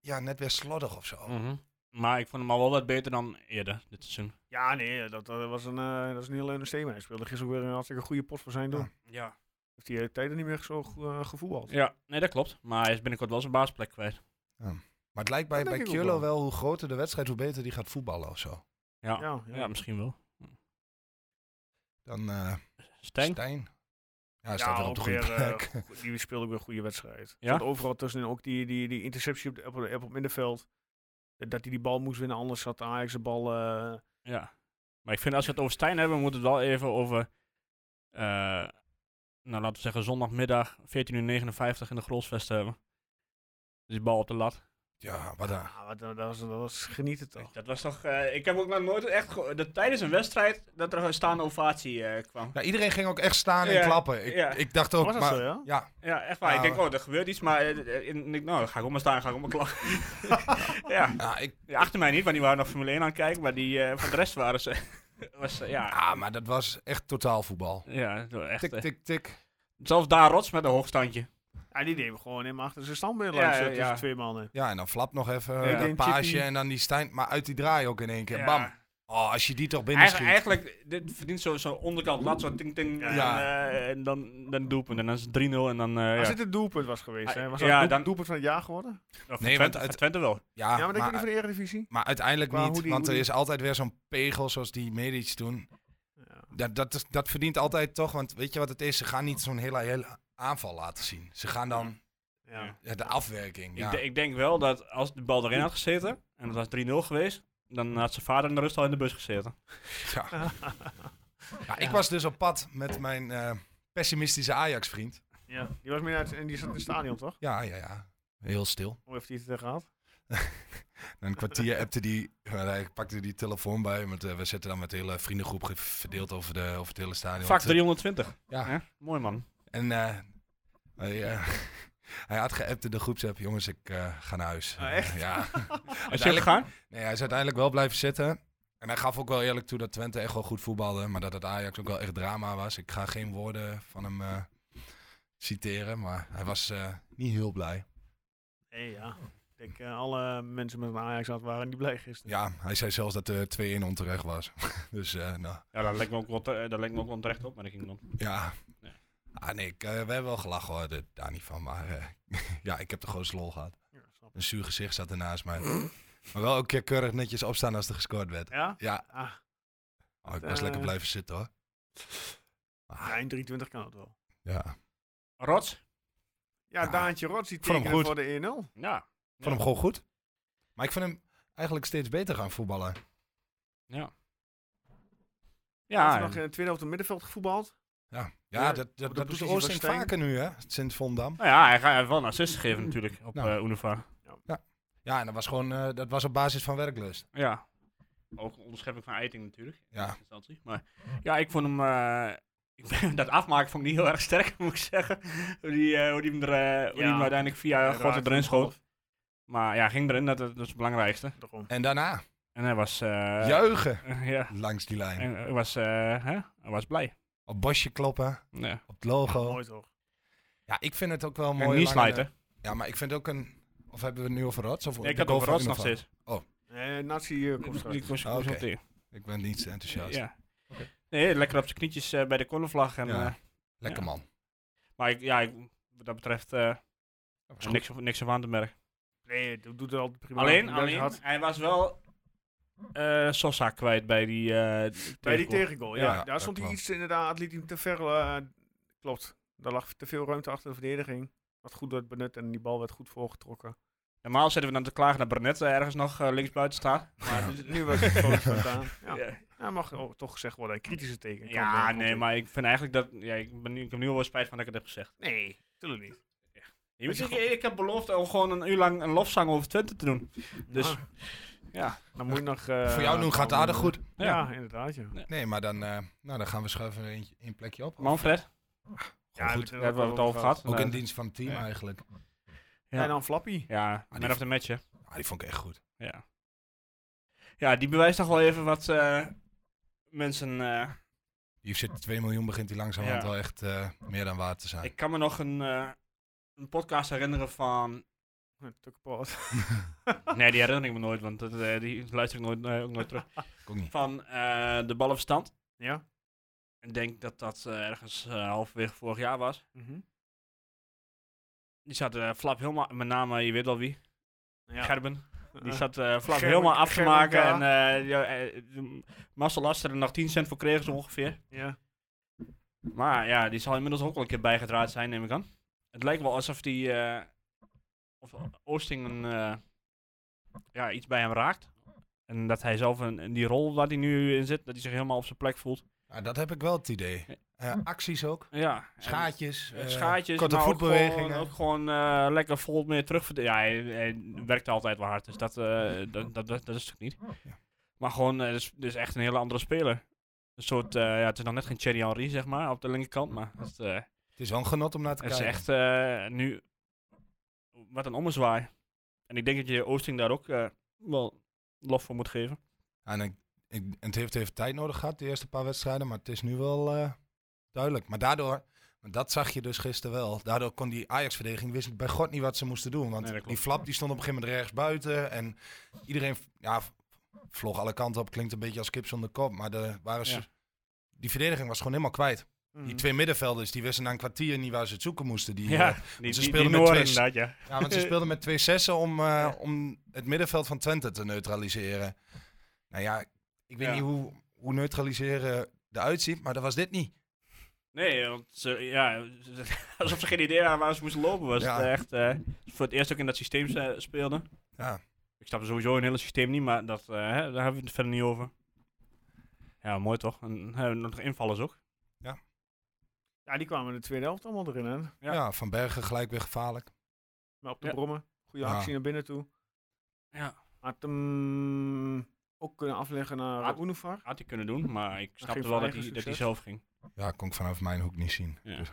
D: ja, net weer slordig of zo.
C: Mhm. Maar ik vond hem al wel wat beter dan eerder dit seizoen.
A: Ja, nee, dat, dat was een, eh, dat is een heel leuk systeem. Hij speelde gisteren ook weer een hartstikke goede pot voor zijn doen.
D: Ja.
C: Ja,
A: Heeft hij eh, tijden niet meer zo eh, gevoetbald.
C: Ja, nee, dat klopt. Maar hij is binnenkort wel zijn baasplek kwijt.
D: Maar het lijkt bij,
A: Dat
D: bij
A: denk ik ook
D: Kjolo
A: wel.
D: wel, hoe groter de wedstrijd, hoe beter die gaat voetballen of zo.
C: Ja, ja.
A: Ja, ja.
C: misschien wel.
D: Dan eh
C: Stijn?
D: Stijn. Ja, hij staat wel op de
A: ook
D: goede
A: weer, eh,
D: plek.
A: go- die speelde ook weer een goede wedstrijd.
C: Ja?
A: Ja? overal tussenin ook die, die, die interceptie op, de, op, op, op middenveld. Dat hij die bal moest winnen, anders had Ajax de bal... eh,
C: Ja. Maar ik vind als we het over Stijn hebben, moeten we het wel even over... eh, nou, laten we zeggen zondagmiddag 14.59 in de Grolsvest hebben. Dus die bal op de lat.
D: Ja, wat dan?
A: Ah, wat, dat, was, dat was genieten toch?
C: Dat was toch... eh, ik heb ook nog nooit echt... geho- dat tijdens een wedstrijd dat er een staande ovatie eh, kwam.
D: Nou, iedereen ging ook echt staan en
C: Ja,
D: klappen. Ik,
C: ja.
D: ik dacht ook,
A: Was dat
D: maar...
A: zo, ja?
C: Ja, echt waar.
D: Ja,
C: ik denk, oh, er gebeurt iets, maar eh, eh, en ik, nou, dan ga ik om maar staan, ga ik om maar klappen. ja.
D: Ja, ik,
C: Ja, achter mij niet, want die waren nog Formule 1 aan het kijken, maar die, eh, voor de rest waren ze... was, eh, ja,
D: ah, maar dat was echt totaal voetbal.
C: ja, zo echt.
D: Tik,
C: eh,
D: tik, tik.
C: Zelfs daar rots met een hoogstandje.
A: Ja, die nemen gewoon helemaal achter zijn standbeeld
C: Ja,
A: langs
C: ja,
A: ja, tussen
C: ja.
A: twee mannen.
D: Ja, en dan flap nog even. eh,
C: Ja.
D: dat
A: Een
D: paasje
A: chippy.
D: en dan die Stijn. Maar uit die draai ook in één keer.
C: Ja.
D: Bam. Oh, als je die toch binnen
C: Eigen-
D: schiet.
C: eigenlijk, dit verdient zo'n zo onderkant lat, zo ting ting. En,
D: Ja.
C: eh, en dan, dan doelpunt. En dan is het 3-0 en dan... eh
A: Als
C: ja.
A: dit het doelpunt was geweest, hè, was
C: Ja,
A: dat het
C: dan- Ah,
A: doelpunt van het jaar geworden?
C: Of
D: Nee,
C: Twente,
D: want
C: van
D: uit-
C: Twente wel.
A: ja,
D: Ja,
A: maar denk je
D: maar,
A: niet van de Eredivisie?
D: maar uiteindelijk
A: Qua
D: niet.
A: hoe die-
D: want
A: hoe
D: er
A: die-
D: is altijd weer zo'n pegel zoals die Medic toen.
A: Ja.
D: Dat, dat, is- dat verdient altijd toch. Want weet je wat het is? Ze gaan niet zo'n hele, hele aanval laten zien. Ze gaan dan
A: Ja.
D: ja, de afwerking. Ja.
C: Ik, de- ik denk wel dat als de bal erin had gezeten, en dat was 3-0 geweest, dan had zijn vader in de rust al in de bus gezeten.
D: Ja. Ja, ik was dus op pad met mijn eh, pessimistische Ajax-vriend.
A: ja. Die was meer uit en die zat in het stadion, toch?
D: Ja, ja, ja. Heel stil.
A: Hoe heeft hij het eh, er gehad?
D: Na een kwartier appte die, maar hij pakte die telefoon bij. Met, eh, we zitten dan met de hele vriendengroep ge- verdeeld over, de, over het hele stadion.
C: Vak 320.
D: Ja.
C: hè? Mooi man.
D: En eh, hij, eh, hij had geappt in de groepsapp, jongens, ik eh, ga naar huis.
A: Ah, echt?
D: Ja.
C: Is je
D: uiteindelijk,
C: gegaan?
D: nee, hij is uiteindelijk wel blijven zitten. En hij gaf ook wel eerlijk toe dat Twente echt wel goed voetbalde, maar dat het Ajax ook wel echt drama was. Ik ga geen woorden van hem eh, citeren, maar hij was eh, niet heel blij.
A: Nee, ja. Ik denk, eh, alle mensen met een Ajax had waren die blij gisteren.
D: Ja, hij zei zelfs dat de 2-1 onterecht was. dus eh, nou,
C: Ja, dat lijkt me ook wel, te- eh, dat lijkt me ook wel terecht op, maar ik ging dan.
D: ja.
C: Ja.
D: Ah nee, ik, eh, we hebben wel gelachen hoor, de- daar niet van. Maar eh, ja, ik heb de grootste lol gehad.
A: Ja, snap ik.
D: Een zuur gezicht zat ernaast mij. Maar wel een keer keurig netjes opstaan als er gescoord werd.
A: Ja?
D: Ja,
A: Ah,
D: oh, ik was
A: Eh.
D: lekker blijven zitten hoor. Ah,
A: ja, in 23 kan het wel.
D: ja,
C: Rots?
A: Ja,
D: Ja.
A: Daantje Rots, die
D: Vond hem
A: tekende
D: goed.
A: voor de E 1-0.
C: Ja.
D: vond hem gewoon goed. Maar ik vond hem eigenlijk steeds beter gaan voetballen.
A: Ja,
C: Ja,
A: nog eh, in het tweede helft op het middenveld gevoetbald.
D: Ja, ja,
A: Ja,
D: dat,
A: de
D: dat, dat doet
A: positie
D: Oosting
A: van Steen.
D: vaker nu hè, sinds Vondam.
C: nou ja, hij gaat hij heeft wel een assist geven natuurlijk op
D: Nou.
C: eh Unifar.
D: Ja, en dat was gewoon, eh, dat was op basis van werklust.
C: Ja. Ook een onderschepping van Eiting natuurlijk. in
D: Ja.
C: eerste instantie. Maar ja, ik vond hem. eh, ik ben- dat afmaken vond ik niet heel erg sterk, moet ik zeggen. Hoe die, eh, hoe die hem er eh, hoe die
A: Ja.
C: hem uiteindelijk via
A: Hij
C: God
A: raakte
C: erin
A: hem
C: schoot.
A: half.
C: Maar ja, ging erin, dat, dat is het belangrijkste.
A: Daarom.
D: En daarna,
C: En hij was. eh,
D: juichen
C: ja.
D: langs die lijn.
C: En hij was, eh, hè? hij was blij.
D: Op bosje kloppen,
C: Ja.
D: op het logo.
A: Mooi toch?
D: Ja, ik vind het ook wel mooi.
C: En niet
D: lange-
C: slijten.
D: Ja, maar ik vind ook een, of hebben we het nu over Rots? Of
C: Nee, ik
D: de
C: had
D: goal
C: over
D: van
C: Rots nog
D: Unifar?
C: steeds.
A: Eh, Nazi eh, komt straks.
C: Die was
D: Ah, oké.
C: geconsulteerd.
D: Ik ben niet enthousiast.
C: Ja.
D: Oké.
C: Nee, lekker op zijn knietjes eh, bij de cornervlag. En,
D: Ja.
C: eh,
D: Lekker
C: Ja.
D: man.
C: maar ik, ja, ik- wat dat betreft eh,
D: was
C: niks, niks op aan te merken.
A: Nee, dat doet er altijd prima.
C: alleen,
A: Dat
C: alleen
A: had-
C: hij was wel eh Sosa kwijt bij die eh
A: Bij die
C: tegengoal.
A: tegengoal, ja.
D: Ja,
A: Daar
D: dat
A: stond hij
D: klopt.
A: iets inderdaad, liet hij hem te ver. eh, klopt. Daar lag te veel ruimte achter de verdediging. Wat goed werd benut en die bal werd goed voorgetrokken.
C: Normaal zetten we dan te klagen naar Barnett eh, ergens nog eh, links buiten staat. Maar
D: Ja.
C: dus-
A: Nu was het gewoon spontaan. Ja.
C: ja,
A: Ja, mag ook toch gezegd worden. Een kritische teken. kan
C: Ja,
A: wel, komt
C: nee,
A: in.
C: maar ik vind eigenlijk dat... Ja, ik, ben nu, ik heb nu al wel spijt van dat ik het heb gezegd.
A: Nee, natuurlijk niet.
C: Je moet zeggen, ik heb beloofd om gewoon een uur lang een lofzang over Twente te doen. Dus,
A: Ah,
C: ja.
A: dan moet je nog... eh,
D: Voor jou nu gaat het aardig goed.
A: Ja,
C: ja.
A: inderdaad, ja.
D: Nee, maar dan, eh, nou, dan gaan we schuiven een, een plekje
C: Oh,
D: op.
C: Manfred,
A: Ja,
D: Gewoon goed.
A: daar
C: daar hebben we het over gehad.
D: Ook
C: Eh,
D: in dienst van het team
C: ja.
D: eigenlijk.
C: Ja.
A: En dan Flappy.
C: Ja,
D: die
C: man of the match, hè.
D: Ah, die vond ik echt goed.
C: Ja. Ja, die bewijst toch wel even wat eh, mensen... eh,
D: Hier zit 2 miljoen, begint hij langzamerhand
C: Ja.
D: wel echt eh, meer dan waard te zijn.
C: ik kan me nog een, eh, een podcast herinneren van...
A: Hm, Tukkenpoot.
C: Nee, die herinner ik me nooit, want dat, eh, die luister ik nooit, eh, ook nooit terug.
D: Ik ook niet.
C: Van eh de ballenverstand.
A: Ja.
C: Ik denk dat dat eh, ergens eh, halverwege vorig jaar was.
A: Mhm.
C: Die zat eh, Flap helemaal... Met name, je weet wel wie.
A: ja.
C: Gerben. Die
A: Eh,
C: zat eh, Flap
A: Gerben-
C: helemaal af te
A: Gerben
C: maken.
A: K.
C: En eh ja, eh, Marcel Laster er nog 10 cent voor kreeg, zo ongeveer.
A: ja.
C: Maar ja, die zal inmiddels ook wel een keer bijgedraaid zijn, neem ik aan. Het lijkt wel alsof die. eh, of Oosting een, eh, ja, iets bij hem raakt. En dat hij zelf een, in die rol waar hij nu in zit, dat hij zich helemaal op zijn plek voelt.
D: Ja, Ah, dat heb ik wel het idee. Eh, acties ook.
C: Ja. en-
D: Schaatjes.
C: eh,
D: eh,
C: Schaatjes,
D: korte
C: maar ook
D: voetbewegingen.
C: gewoon, ook gewoon eh, lekker vol meer terug. Ja, hij, hij werkte altijd wel hard, dus dat, eh, dat, dat, dat, dat is het niet.
D: Oh, Ja.
C: Maar gewoon, eh, het is, het is echt een hele andere speler. Een soort, eh, ja, het is nog net geen Thierry Henry, zeg maar, op de linkerkant, maar het, is, eh,
D: Het is wel een genot om naar te
C: het is
D: kijken.
C: echt eh, nu, wat een ommezwaai. En ik denk dat je Oosting daar ook eh, wel lof voor moet geven.
D: En ik, ik, en het heeft even tijd nodig gehad, de eerste paar wedstrijden, maar het is nu wel eh, duidelijk. Maar daardoor, want dat zag je dus gisteren wel, daardoor kon die Ajax-verdediging, wist bij God niet wat ze moesten doen. Want
C: Nee, dat klopt.
D: die flap die stond op een gegeven moment rechts buiten en iedereen ja, vlog alle kanten op. Klinkt een beetje als kip zonder kop, maar de, waren ze,
C: Ja.
D: die verdediging was gewoon helemaal kwijt. Die
A: Mhm.
D: twee middenvelders, die wisten na een kwartier niet waar ze het zoeken moesten. Die,
C: ja,
D: eh,
C: die,
D: ze
C: die, die
D: spelen met
C: Noren
D: twee-
C: inderdaad, ja.
D: ja, want ze speelden met twee zessen om, eh, om het middenveld van Twente te neutraliseren. Nou ja, ik weet
C: Ja.
D: niet hoe, hoe neutraliseren eruit ziet, maar dat was dit niet.
C: Nee, want ze, ja, alsof ze geen idee hadden waar ze moesten lopen. Was
D: Ja.
C: het echt eh, voor het eerst ook in dat systeem eh, speelden.
D: Ja,
C: Ik snap sowieso een hele systeem niet, maar dat, eh, hè, daar hebben we het verder niet over. Ja, mooi toch? En hebben we nog invallers ook.
A: Ja, die kwamen in de tweede helft allemaal erin, hè?
C: Ja.
D: ja. Van Bergen gelijk weer gevaarlijk.
A: Maar op de
C: Ja.
A: brommen. Goede
D: Ja.
A: actie naar binnen toe.
C: Ja.
A: Had hem ook kunnen afleggen naar
C: Had-
A: Had... Unovar.
C: Had hij kunnen doen, maar ik snapte
A: ging
C: wel
A: voor
C: dat hij,
A: eigen
C: dat hij
A: succes.
C: zelf ging.
D: Ja, kon ik vanaf mijn hoek niet zien.
C: Ja.
D: Dus-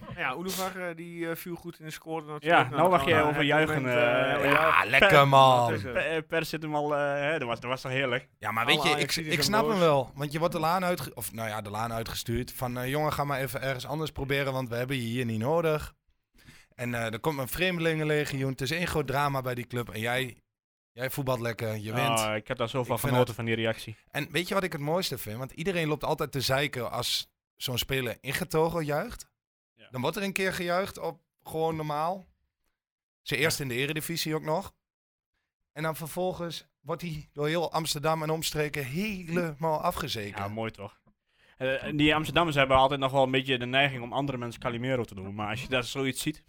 A: Nou ja, Unovar eh, die eh, viel goed in de score. natuurlijk.
C: Ja, nou
A: dan
C: mag
A: gaan
C: jij
A: we
C: over
A: het
C: juichen,
A: moment,
C: eh,
A: eh,
C: ja.
A: ja.
D: Ah, lekker
A: Dat
D: man.
A: is het.
C: Per, eh, per zit hem al, eh, hè, dat, was, dat was toch heerlijk?
D: Ja, maar
A: Alle
D: weet je, ik,
A: Ajaxiden
D: ik
A: zijn
D: snap hem
A: boos.
D: wel. Want je wordt de laan, uitge of, nou ja, de laan uitgestuurd van... eh, jongen, ga maar even ergens anders proberen, want we hebben je hier niet nodig. En eh er komt een vreemdelingenlegioen. Het is één groot drama bij die club. En jij, jij voetbalt lekker, je wint.
C: Oh, ik heb daar zoveel
D: Ik
C: van
D: vind
C: genoten van die reactie.
D: En weet je wat ik het mooiste vind? Want iedereen loopt altijd te zeiken als zo'n speler ingetogen juicht.
C: Ja.
D: Dan wordt er een keer gejuicht op gewoon normaal. Ze eerst in de eredivisie ook nog. En dan vervolgens wordt hij door heel Amsterdam en omstreken helemaal afgezeken.
C: Ja, mooi toch? Eh, en die Amsterdammers hebben altijd nog wel een beetje de neiging om andere mensen Calimero te doen. Maar als je daar zoiets ziet,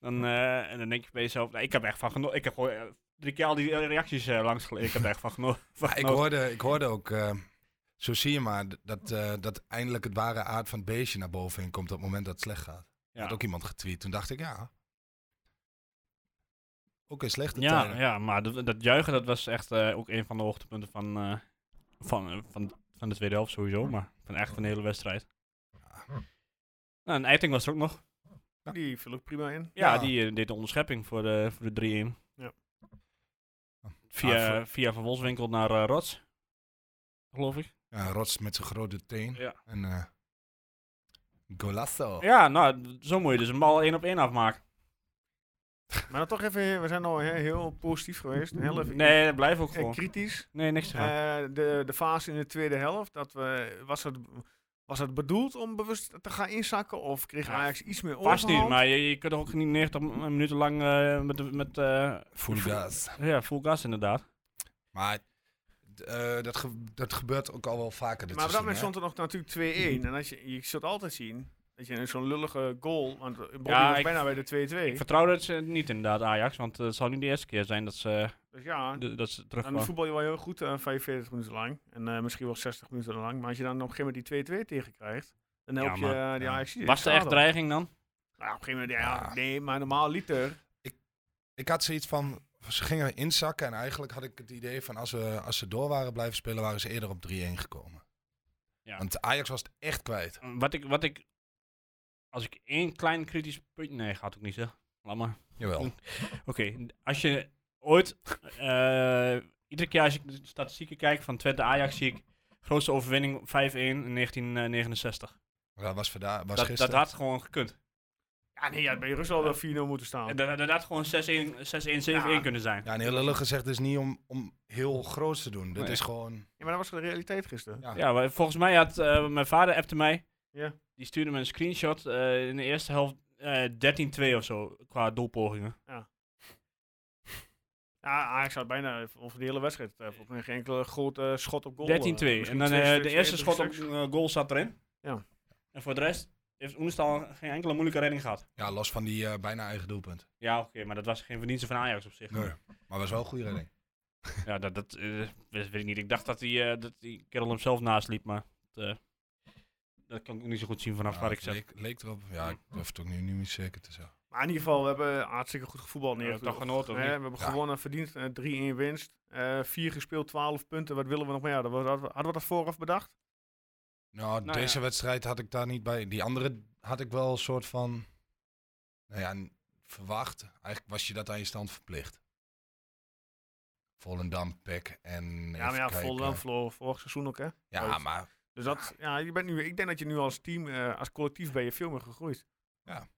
C: dan, eh, en dan denk je bij jezelf, nou, ik heb echt van genoten. Ik heb gewoon eh, drie keer al die eh, reacties eh, langs gele- Ik heb er echt van geno- van
D: Maar ik,
C: genoten.
D: hoorde, ik hoorde ook, eh, zo zie je maar, d- dat, eh, dat eindelijk het ware aard van het beestje naar boven in komt op het moment dat het slecht gaat.
C: Ja.
D: Had ook iemand getweet. Toen dacht ik, ja. Ook in slechte
C: Ja,
D: tijden.
C: ja maar dat, dat juichen dat was echt eh, ook een van de hoogtepunten van, eh, van, eh, van, van de tweede helft sowieso, maar van echt van de hele wedstrijd. Nou, en Eiting was er ook nog.
A: Die viel ook prima in.
C: Ja,
D: Ja.
C: die eh, deed de onderschepping voor de, voor de 3-1.
A: Ja.
C: Via,
D: Ah, voor-
C: via Van Wolfswinkel naar eh, Rots, geloof ik.
D: Ja, Rots met zijn grote teen.
C: Ja.
D: En eh
A: Oh.
D: Golasso.
C: ja, nou, d- zo moet je dus een bal één op één afmaken.
A: Maar dan toch even, we zijn al he- heel positief geweest. Heel even
C: Nee, dat blijft ook
A: eh,
C: gewoon.
A: kritisch.
C: Nee, niks te gaan.
A: Eh, de, de fase in de tweede helft, dat we, was, het, was het bedoeld om bewust te gaan inzakken? Of kreeg
C: Ja,
A: Ajax iets meer
C: Past
A: overhand?
C: niet, maar je, je kunt ook niet 90 m- minuten lang eh, met, de- met eh,
D: Full gas.
C: ja, full gas inderdaad.
D: Maar d- eh, dat, ge- dat gebeurt ook al wel vaker dit
A: Maar op dat moment
D: seizoen,
A: stond er nog natuurlijk
C: Mhm.
A: 2-1. En als je, je zult altijd zien dat je zo'n lullige goal... Want Bobby
C: Ja,
A: was
C: ik-
A: bijna bij de 2-2.
C: Ik vertrouw dat ze niet inderdaad, Ajax. Want eh, het zal niet de eerste keer zijn dat ze,
A: Dus ja,
C: de- dat ze
A: Ah, dan
C: terugkomen.
A: voetbal je wel heel goed eh 45 minuten lang. En eh, misschien wel 60 minuten lang. Maar als je dan op een gegeven moment die 2-2 tegenkrijgt... Dan
C: Ja,
A: help je
C: maar-
A: eh, die
D: ja.
A: Ajax niet.
C: Was er echt dreiging dan?
A: Nou, op een gegeven moment, ja,
D: Ja.
A: nee, maar normaal liter.
D: hè? Ik had zoiets van, ze gingen inzakken en eigenlijk had ik het idee van als, we, als ze door waren blijven spelen, waren ze eerder op 3-1 gekomen.
C: Ja.
D: Want Ajax was het echt kwijt.
C: Wat ik, wat ik, als ik één klein kritisch punt... Nee, gaat ook niet zeggen. Laat maar.
D: Jawel.
C: Oké, als je ooit... eh, iedere keer als ik de statistieken kijk van Twente Ajax zie ik... Grootste overwinning 5-1 in 1969.
D: Dat was, vandaag, was
C: Dat, dat
D: gisteren.
C: had gewoon gekund.
A: Ja, nee, ja, bij Rusland wel 4-0 moeten staan.
C: En Dat, dat had gewoon 6-1, 6-1, 7-1
A: Ja.
C: kunnen zijn.
D: Ja, een hele lullig gezegd is niet om, om heel groot te doen. Dit
C: Nee.
D: is gewoon...
A: Ja, maar dat was de realiteit gisteren.
D: Ja.
C: Ja, maar volgens mij had eh, mijn vader appte mij.
A: Ja.
C: Die stuurde me een screenshot eh, in de eerste helft eh 13-2 of zo qua doelpogingen.
A: Ja, Ajax had bijna over de hele wedstrijd. eh, volgens mij geen enkele grote eh, schot op goal.
C: 13-2.
A: eh,
C: En
A: misschien
C: dan
A: twee
C: eh,
A: stuks,
C: de
A: twee,
C: eerste
A: drie
C: schot op
A: stuks.
C: eh, goal zat erin.
A: Ja.
C: En voor de rest heeft Oenestal geen enkele moeilijke redding gehad.
D: Ja, los van die eh, bijna eigen doelpunt.
C: Ja, oké, maar dat was geen verdienste van Ajax op zich.
D: Maar was wel een goede redding.
C: Ja, dat, dat eh, weet, weet ik niet. Ik dacht dat die, eh, dat die kerel hem zelf naast liep, maar... dat kan ik ook niet zo goed zien vanaf
D: Ja,
C: waar
D: het
C: ik zit.
D: leek, leek erop. Ja, ik durf het ook nu niet meer zeker te zeggen.
A: Maar in ieder geval, we hebben hartstikke goed gevoetbal
C: We hebben
A: neer.
C: toch genoten, of
A: Hè,
C: niet?
A: we hebben
D: Ja.
A: gewonnen, verdiend, eh, 3-1 winst. eh 4 gespeeld, 12 punten. Wat willen we nog meer? Hadden we, hadden we dat vooraf bedacht?
D: Nou,
C: Nou
D: deze
C: ja.
D: wedstrijd had ik daar niet bij. Die andere had ik wel een soort van. Nou ja, n- verwacht. Eigenlijk was je dat aan je stand verplicht. Volendam, Pek en. even
A: ja, maar ja,
D: kijken.
A: Volendam verloor vorig seizoen ook, hè?
D: Ja,
A: Ooit.
D: maar.
A: Dus dat, ja, je bent nu, ik denk dat je nu als team, eh, als collectief ben je veel meer gegroeid.
C: Ja.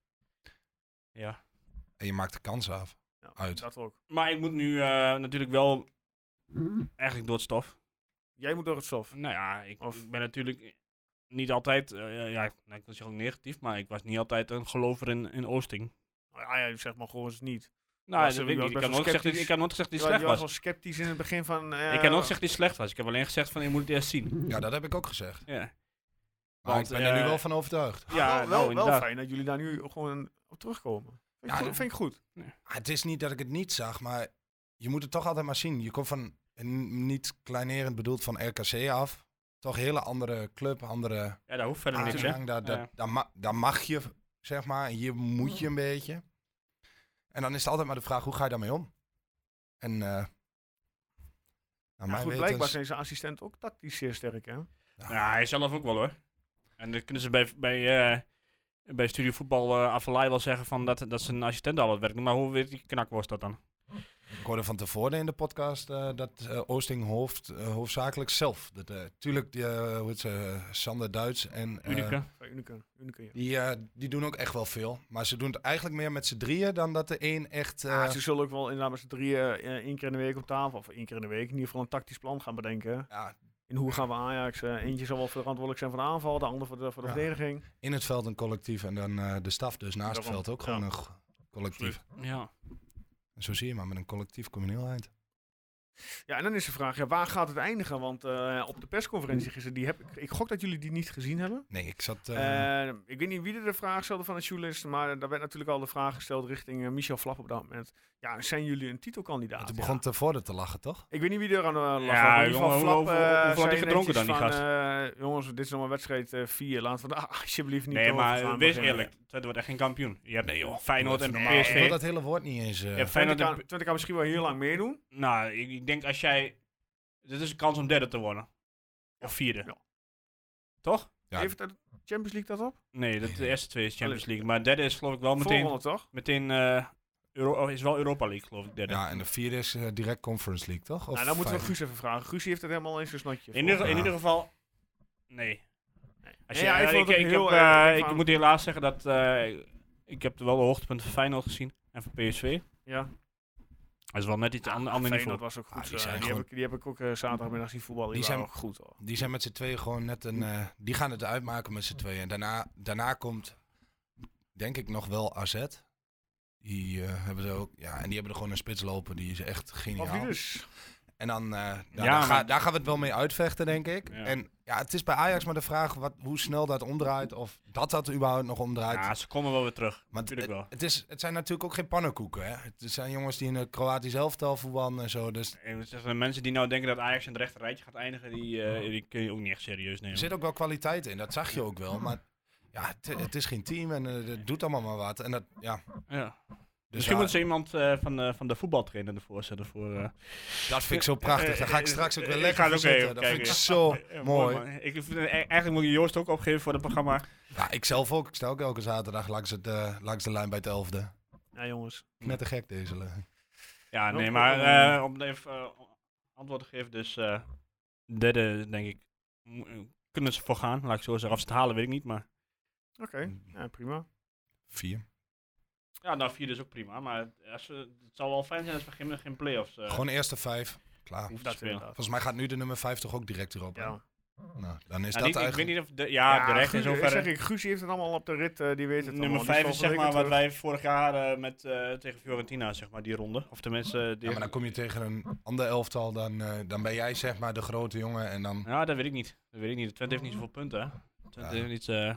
D: En je maakt de kans af.
A: Ja,
D: Uit.
A: Dat ook.
C: Maar ik moet nu eh, natuurlijk wel eigenlijk door het stof.
A: Jij moet door het stof.
C: Nou ja, ik,
A: Of-
C: ik ben natuurlijk niet altijd, eh, ja, ik, nou, ik wil zeggen ook negatief, maar ik was niet altijd een gelover in, in Oosting.
A: Nou Ja, ja, zeg maar gewoon eens niet.
C: Nou,
A: Was
C: dat
A: er-
C: weet ik,
A: was best
C: niet. ik, had
A: wel
C: nooit gezegd, dat-
A: sceptisch.
C: ik had nooit gezegd dat
A: Je
C: hij
A: was,
C: slecht
A: je was
C: was.
A: al sceptisch in het begin van... eh,
C: ik had nooit gezegd dat hij slecht was. Ik heb alleen gezegd van, je moet het eerst zien.
D: Ja, dat heb ik ook gezegd.
C: Ja,
D: Maar
C: Want,
D: ik ben er nu
C: eh,
D: wel van overtuigd.
A: Ah, wel-
C: ja
A: wel,
C: nou,
A: wel,
C: inderdaad.
A: fijn dat jullie daar nu gewoon op terugkomen. Vind ik,
D: Ja,
A: goed,
D: dat-
A: vind ik goed.
D: Ah, Het is niet dat ik het niet zag, maar je moet het toch altijd maar zien. Je komt van, en niet kleinerend bedoeld, van RKC af. Toch een hele andere club, andere
C: Ja, daar hoeft
D: Ah,
C: verder niks, hè.
D: aanhang. Daar, daar,
C: Ja.
D: daar, ma- daar mag je, zeg maar. en Hier moet
A: Mm.
D: je een beetje. En dan is het altijd maar de vraag, hoe ga je daarmee om? En, eh nou,
A: Ja,
D: mijn
A: goed,
D: wetens-
A: blijkbaar zijn zijn assistent ook tactisch zeer sterk, hè?
D: Nou,
C: Ja, hij zelf ook wel hoor. En dat kunnen ze bij, bij, eh bij Studio Voetbal eh Avalai wel zeggen van dat, dat zijn assistent al wat werkt. Maar hoe weet die knakworst dat dan?
D: Ik hoorde van tevoren in de podcast eh, dat eh, Oosting hoofd, eh, hoofdzakelijk zelf. Dat, eh, tuurlijk, die, eh, hoe heet ze, eh, Sander Duits en... eh,
C: Unica.
A: Bij Unicum. Unicum, ja.
D: Die, eh, die doen ook echt wel veel. Maar ze doen het eigenlijk meer met z'n drieën dan dat de een echt. eh,
A: Ah, ze zullen ook wel inderdaad met z'n drieën eh, één keer in de week op tafel, of één keer in de week, in ieder geval een tactisch plan gaan bedenken. hè.
D: ja,
A: In hoe gaan we Ajax? eh, eentje zal wel verantwoordelijk zijn voor de aanval, de ander voor de, voor de
D: Ja.
A: verdediging.
D: in het veld een collectief en dan eh, de staf dus naast het
A: Daarom,
D: veld
A: ja.
D: ook gewoon een go- collectief.
C: ja.
D: En zo zie je maar, met een collectief kom je een heel eind.
A: Ja, en dan is de vraag, ja, waar gaat het eindigen? Want eh, op de persconferentie gisteren, die heb ik, ik gok dat jullie die niet gezien hebben.
D: Nee, ik zat. eh,
A: Eh, ik weet niet wie er de vraag stelde van de journalist, maar daar werd natuurlijk al de vraag gesteld richting eh, Michel Flap op dat moment. Ja, zijn jullie een titelkandidaat?
D: en toen
A: Ja.
D: begon tevoren te lachen, toch?
A: Ik weet niet wie er aan de lag.
C: Ja,
A: maar in ieder geval
C: jongen,
A: Flap,
C: hoe- hoe- hoe-
A: eh,
C: hoeveel had
A: zei
C: die gedronken dan, die
A: netjes
C: gast?
A: van, eh, jongens, dit is nog maar wedstrijd 4. Laten we daar alsjeblieft niet
C: Nee,
A: over
C: maar
A: gaan
C: eh, wees
A: beginnen.
C: eerlijk. Het wordt echt geen kampioen. Je hebt
D: Nee, joh.
C: Feyenoord en
D: Even normaal. Ik wil
C: PSV.
D: dat hele woord niet eens. eh,
C: Je hebt
A: Twente
C: Feyenoord
A: kan,
C: en...
A: Twente kan misschien wel heel lang meedoen.
C: Nou, ik, ik denk als jij... Dit is een kans om derde te worden. Of vierde.
A: Ja.
C: Toch?
D: Ja.
A: Heeft de Champions League dat op?
C: Nee, dat, de
D: Nee.
C: eerste twee is Champions League. Maar derde is geloof ik wel meteen...
A: Volgende toch?
C: meteen eh, Euro, oh, is wel Europa League geloof ik derde.
D: ja, en de vierde is eh, direct Conference League, toch? Of
A: nou, dan moeten we
D: vijf?
A: Guus even vragen. Guus heeft het helemaal in zijn snotje.
C: In ieder, in
D: Ja.
C: ieder geval, nee. Als je,
A: Ja, ik
C: eh,
A: vond
C: ik,
A: het
C: ik
A: ook
C: heb,
A: heel erg
C: eh, ik
A: van-
C: moet helaas zeggen dat eh, ik heb wel de hoogtepunten van Feyenoord gezien en van PSV.
A: Ja,
C: Dat is wel net iets een ander
A: Feyenoord
C: niveau.
A: was ook goed.
D: Ah, die
A: eh,
D: zijn
A: die,
D: gewoon-
A: heb ik, die heb ik ook eh, zaterdagmiddag zien voetballen. Die,
D: Die
A: zijn
D: zijn-
A: ook goed. Hoor.
D: Die zijn met z'n tweeën gewoon net een. eh, die gaan het uitmaken met z'n tweeën. En daarna, daarna komt, denk ik, nog wel AZ. Die eh, hebben er ook. Ja, en die hebben er gewoon een spits lopen. Die is echt
A: Of die
D: geniaal.
A: dus?
D: En dan, eh, daar-
C: Ja,
D: daar, ga-
C: maar-
D: daar gaan we het wel mee uitvechten, denk ik.
C: Ja.
D: En ja, het is bij Ajax maar de vraag wat, hoe snel dat omdraait. Of dat dat überhaupt nog omdraait.
C: Ja, ze komen wel weer terug.
D: Want
C: natuurlijk
D: het,
C: wel.
D: het is, het zijn natuurlijk ook geen pannenkoeken. Hè? Het zijn jongens die in het Kroatisch elftal voetballen en zo. Dus
C: En het zijn mensen die nou denken dat Ajax in het rechter rijtje gaat eindigen, die, eh, die kun je ook niet echt serieus
D: er
C: nemen.
D: zit ook wel kwaliteit in. Dat zag je ook wel. Maar ja, het, het is geen team en eh, het doet allemaal maar wat. En dat, ja,
C: Ja.
D: dus
C: Misschien
D: ja,
C: moet ze iemand eh, van, de, van de voetbaltrainer ervoor zetten. Voor, eh,
D: dat vind ik zo prachtig. Daar ga ik
C: Eh,
D: straks ook
C: eh,
D: weer
C: ik
D: lekker
C: ga het
D: voor
C: ook
D: zitten.
C: even
D: Dat vind ik
C: kijken.
D: zo
C: eh,
D: mooi.
C: man. Ik, vind- eh, eigenlijk moet je Joost ook opgeven voor het programma.
D: Ja, ik zelf ook. Ik sta ook elke zaterdag langs, het, eh, langs de lijn bij het elfde.
A: Ja, jongens.
D: Net te gek deze lijn.
C: Ja,
A: Nog
C: nee,
A: een-
C: maar
A: een-
C: eh, om even eh, antwoord te geven, dus eh, derde, denk ik, mo- eh, kunnen ze voor gaan. Laat ik zo zeggen, of ze het halen, weet ik niet, maar...
A: Oké, ja, prima.
D: Vier.
C: Ja, nou, vierde is ook prima, maar als we, het zou wel fijn zijn als we geen, geen play-offs eh,
D: Gewoon eerste vijf. Klaar.
C: hoeven te
A: Dat
C: spelen.
A: inderdaad.
D: Volgens mij gaat nu de nummer vijf toch ook direct erop. hè?
A: Ja.
D: Nou, dan is
C: Ja,
D: dat
C: niet- Ik weet
D: eigenlijk...
C: niet of... De, ja, de recht in
A: Guus, zeg
C: zoverre.
A: ik, Guus heeft het allemaal op de rit, eh, die weet het
C: Nummer
A: allemaal.
C: vijf is
A: Dus volgende
C: zeg
A: week
C: maar
A: weer
C: wat wij vorig jaar eh, met, eh, tegen Fiorentina, zeg maar, die ronde. Of tenminste... eh, die-
D: Ja, maar dan kom je tegen een ander elftal, dan, eh, dan ben jij zeg maar de grote jongen en dan...
C: Ja, dat weet ik niet. Dat weet ik niet. Twente heeft niet zoveel punten, hè. Twente
D: Ja.
C: heeft niet eh,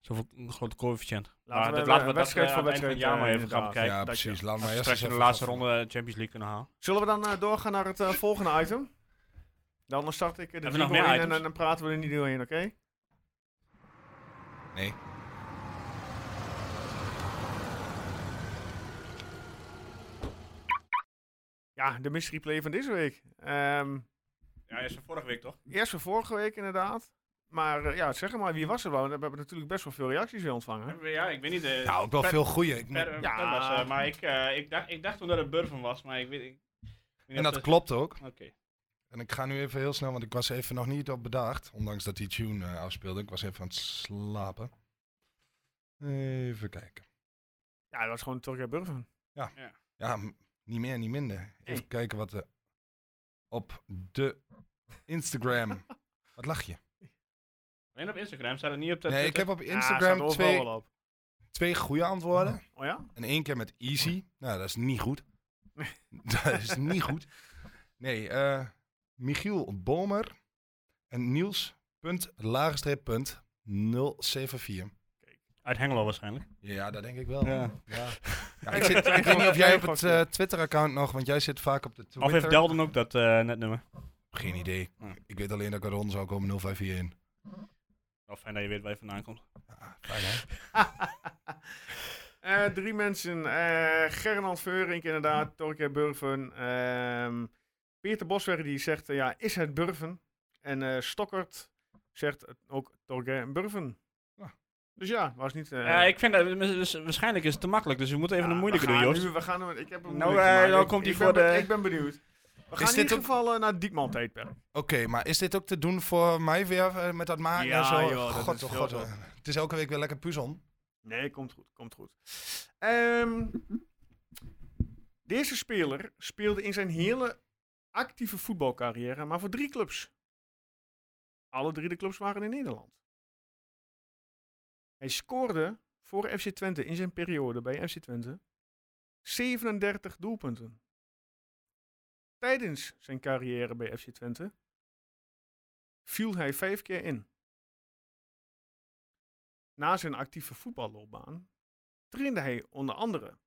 C: zoveel een grote coëfficiënt.
A: Laten
C: Maar
A: we
C: dat
A: bij-
C: laten we dat
A: wedstrijd
C: eh,
A: voor
C: aan het eind
A: wedstrijd,
C: van het jaar maar
A: eh,
C: even gaan
A: inderdaad.
C: bekijken.
D: ja,
A: dat
D: precies.
A: je-
D: Laat maar
C: Als we
D: eerst
C: straks in
D: eens
C: de
D: even
C: laatste
D: afvoeren.
C: ronde de Champions League kunnen halen.
A: Zullen we dan eh, doorgaan naar het eh, volgende item? Dan start ik eh, de
C: Hebben we nog
A: jingle
C: meer
A: in en,
C: items?
A: en dan praten we er niet doorheen, oké?
D: Nee.
A: Ja, de mystery play van deze week. Ehm,
C: Ja, hij is van vorige week toch?
A: eerst van vorige week inderdaad. Maar eh, ja, zeg maar, wie was er wel? We hebben natuurlijk best wel veel reacties weer ontvangen. hè?
C: Ja, ik weet niet. eh,
D: Ja, ook wel
C: per-
D: veel goeie. Ik moet-
C: per- per-
A: Ja.
C: per was, eh, maar ik, eh, ik, dacht, ik dacht toen dat het Burven was, maar ik weet. Ik, ik weet niet
D: en
C: of
D: dat klopt ook.
C: Oké.
D: En ik ga nu even heel snel, want ik was even nog niet op bedacht. Ondanks dat die tune eh, afspeelde. Ik was even aan het slapen. Even kijken.
A: Ja, dat was gewoon Torja Burven.
D: Ja, m- niet meer, niet minder. Even kijken wat er op de Instagram. wat lach je?
C: Alleen op Instagram staat het niet op dat.
D: Nee, ik heb op Instagram
A: ja,
D: twee,
A: Wel op.
D: twee goede antwoorden.
A: Oh ja?
D: En één keer met easy. Nou, dat is niet goed. dat is niet goed. Nee, eh, Michiel Bomer en Niels. Punt, laagstreep, punt, 074.
C: Uit Hengelo waarschijnlijk.
D: Ja, dat denk ik wel. Ja.
C: Ja.
D: ik, zit, ik weet niet of jij op het eh, Twitter-account nog, want jij zit vaak op de Twitter.
C: Of heeft Delden ook dat eh netnummer?
D: Geen idee.
C: Ja.
D: Ik weet alleen dat ik rond zou komen 0541.
C: Wel fijn dat je weet waar je vandaan komt.
D: Ja, fijn hè?
A: Eh, drie mensen. eh Gernand Veurink inderdaad, Torja Burven. ehm, Peter Bosweg die zegt, eh, ja, is het Burven? En eh, Stokkert zegt het ook Torja Burven.
C: Ah.
D: Ja.
A: Dus ja, was niet... eh,
C: Ja, ik vind dat dus waarschijnlijk is het te makkelijk, dus we moeten even
A: ja,
C: een moeilijke
A: we
C: doen,
A: gaan
C: Joost.
A: nu- we gaan, hem- ik heb hem
C: Nou,
A: moeilijk
C: eh,
A: gemaakt.
C: dan
A: Ik-
C: komt hij
A: ik
C: voor
A: ben, be-
C: de-
A: Ik ben benieuwd. We gaan in
D: dit
A: ieder
D: ook-
A: geval eh, naar het Diekman tijdperk.
D: Oké, maar is dit ook te doen voor mij weer eh, met dat maken
A: Ja,
D: en zo?
A: joh, dat
D: god,
A: is
D: oh
A: heel
D: god.
A: zo.
D: eh, Het is elke week weer lekker puzzel.
A: Nee, komt goed, komt goed. Ehm, deze speler speelde in zijn hele actieve voetbalcarrière maar voor drie clubs. Alle drie de clubs waren in Nederland. Hij scoorde voor FC Twente in zijn periode bij FC Twente 37 doelpunten. Tijdens zijn carrière bij FC Twente viel hij vijf keer in na zijn actieve voetballoopbaan trainde hij onder andere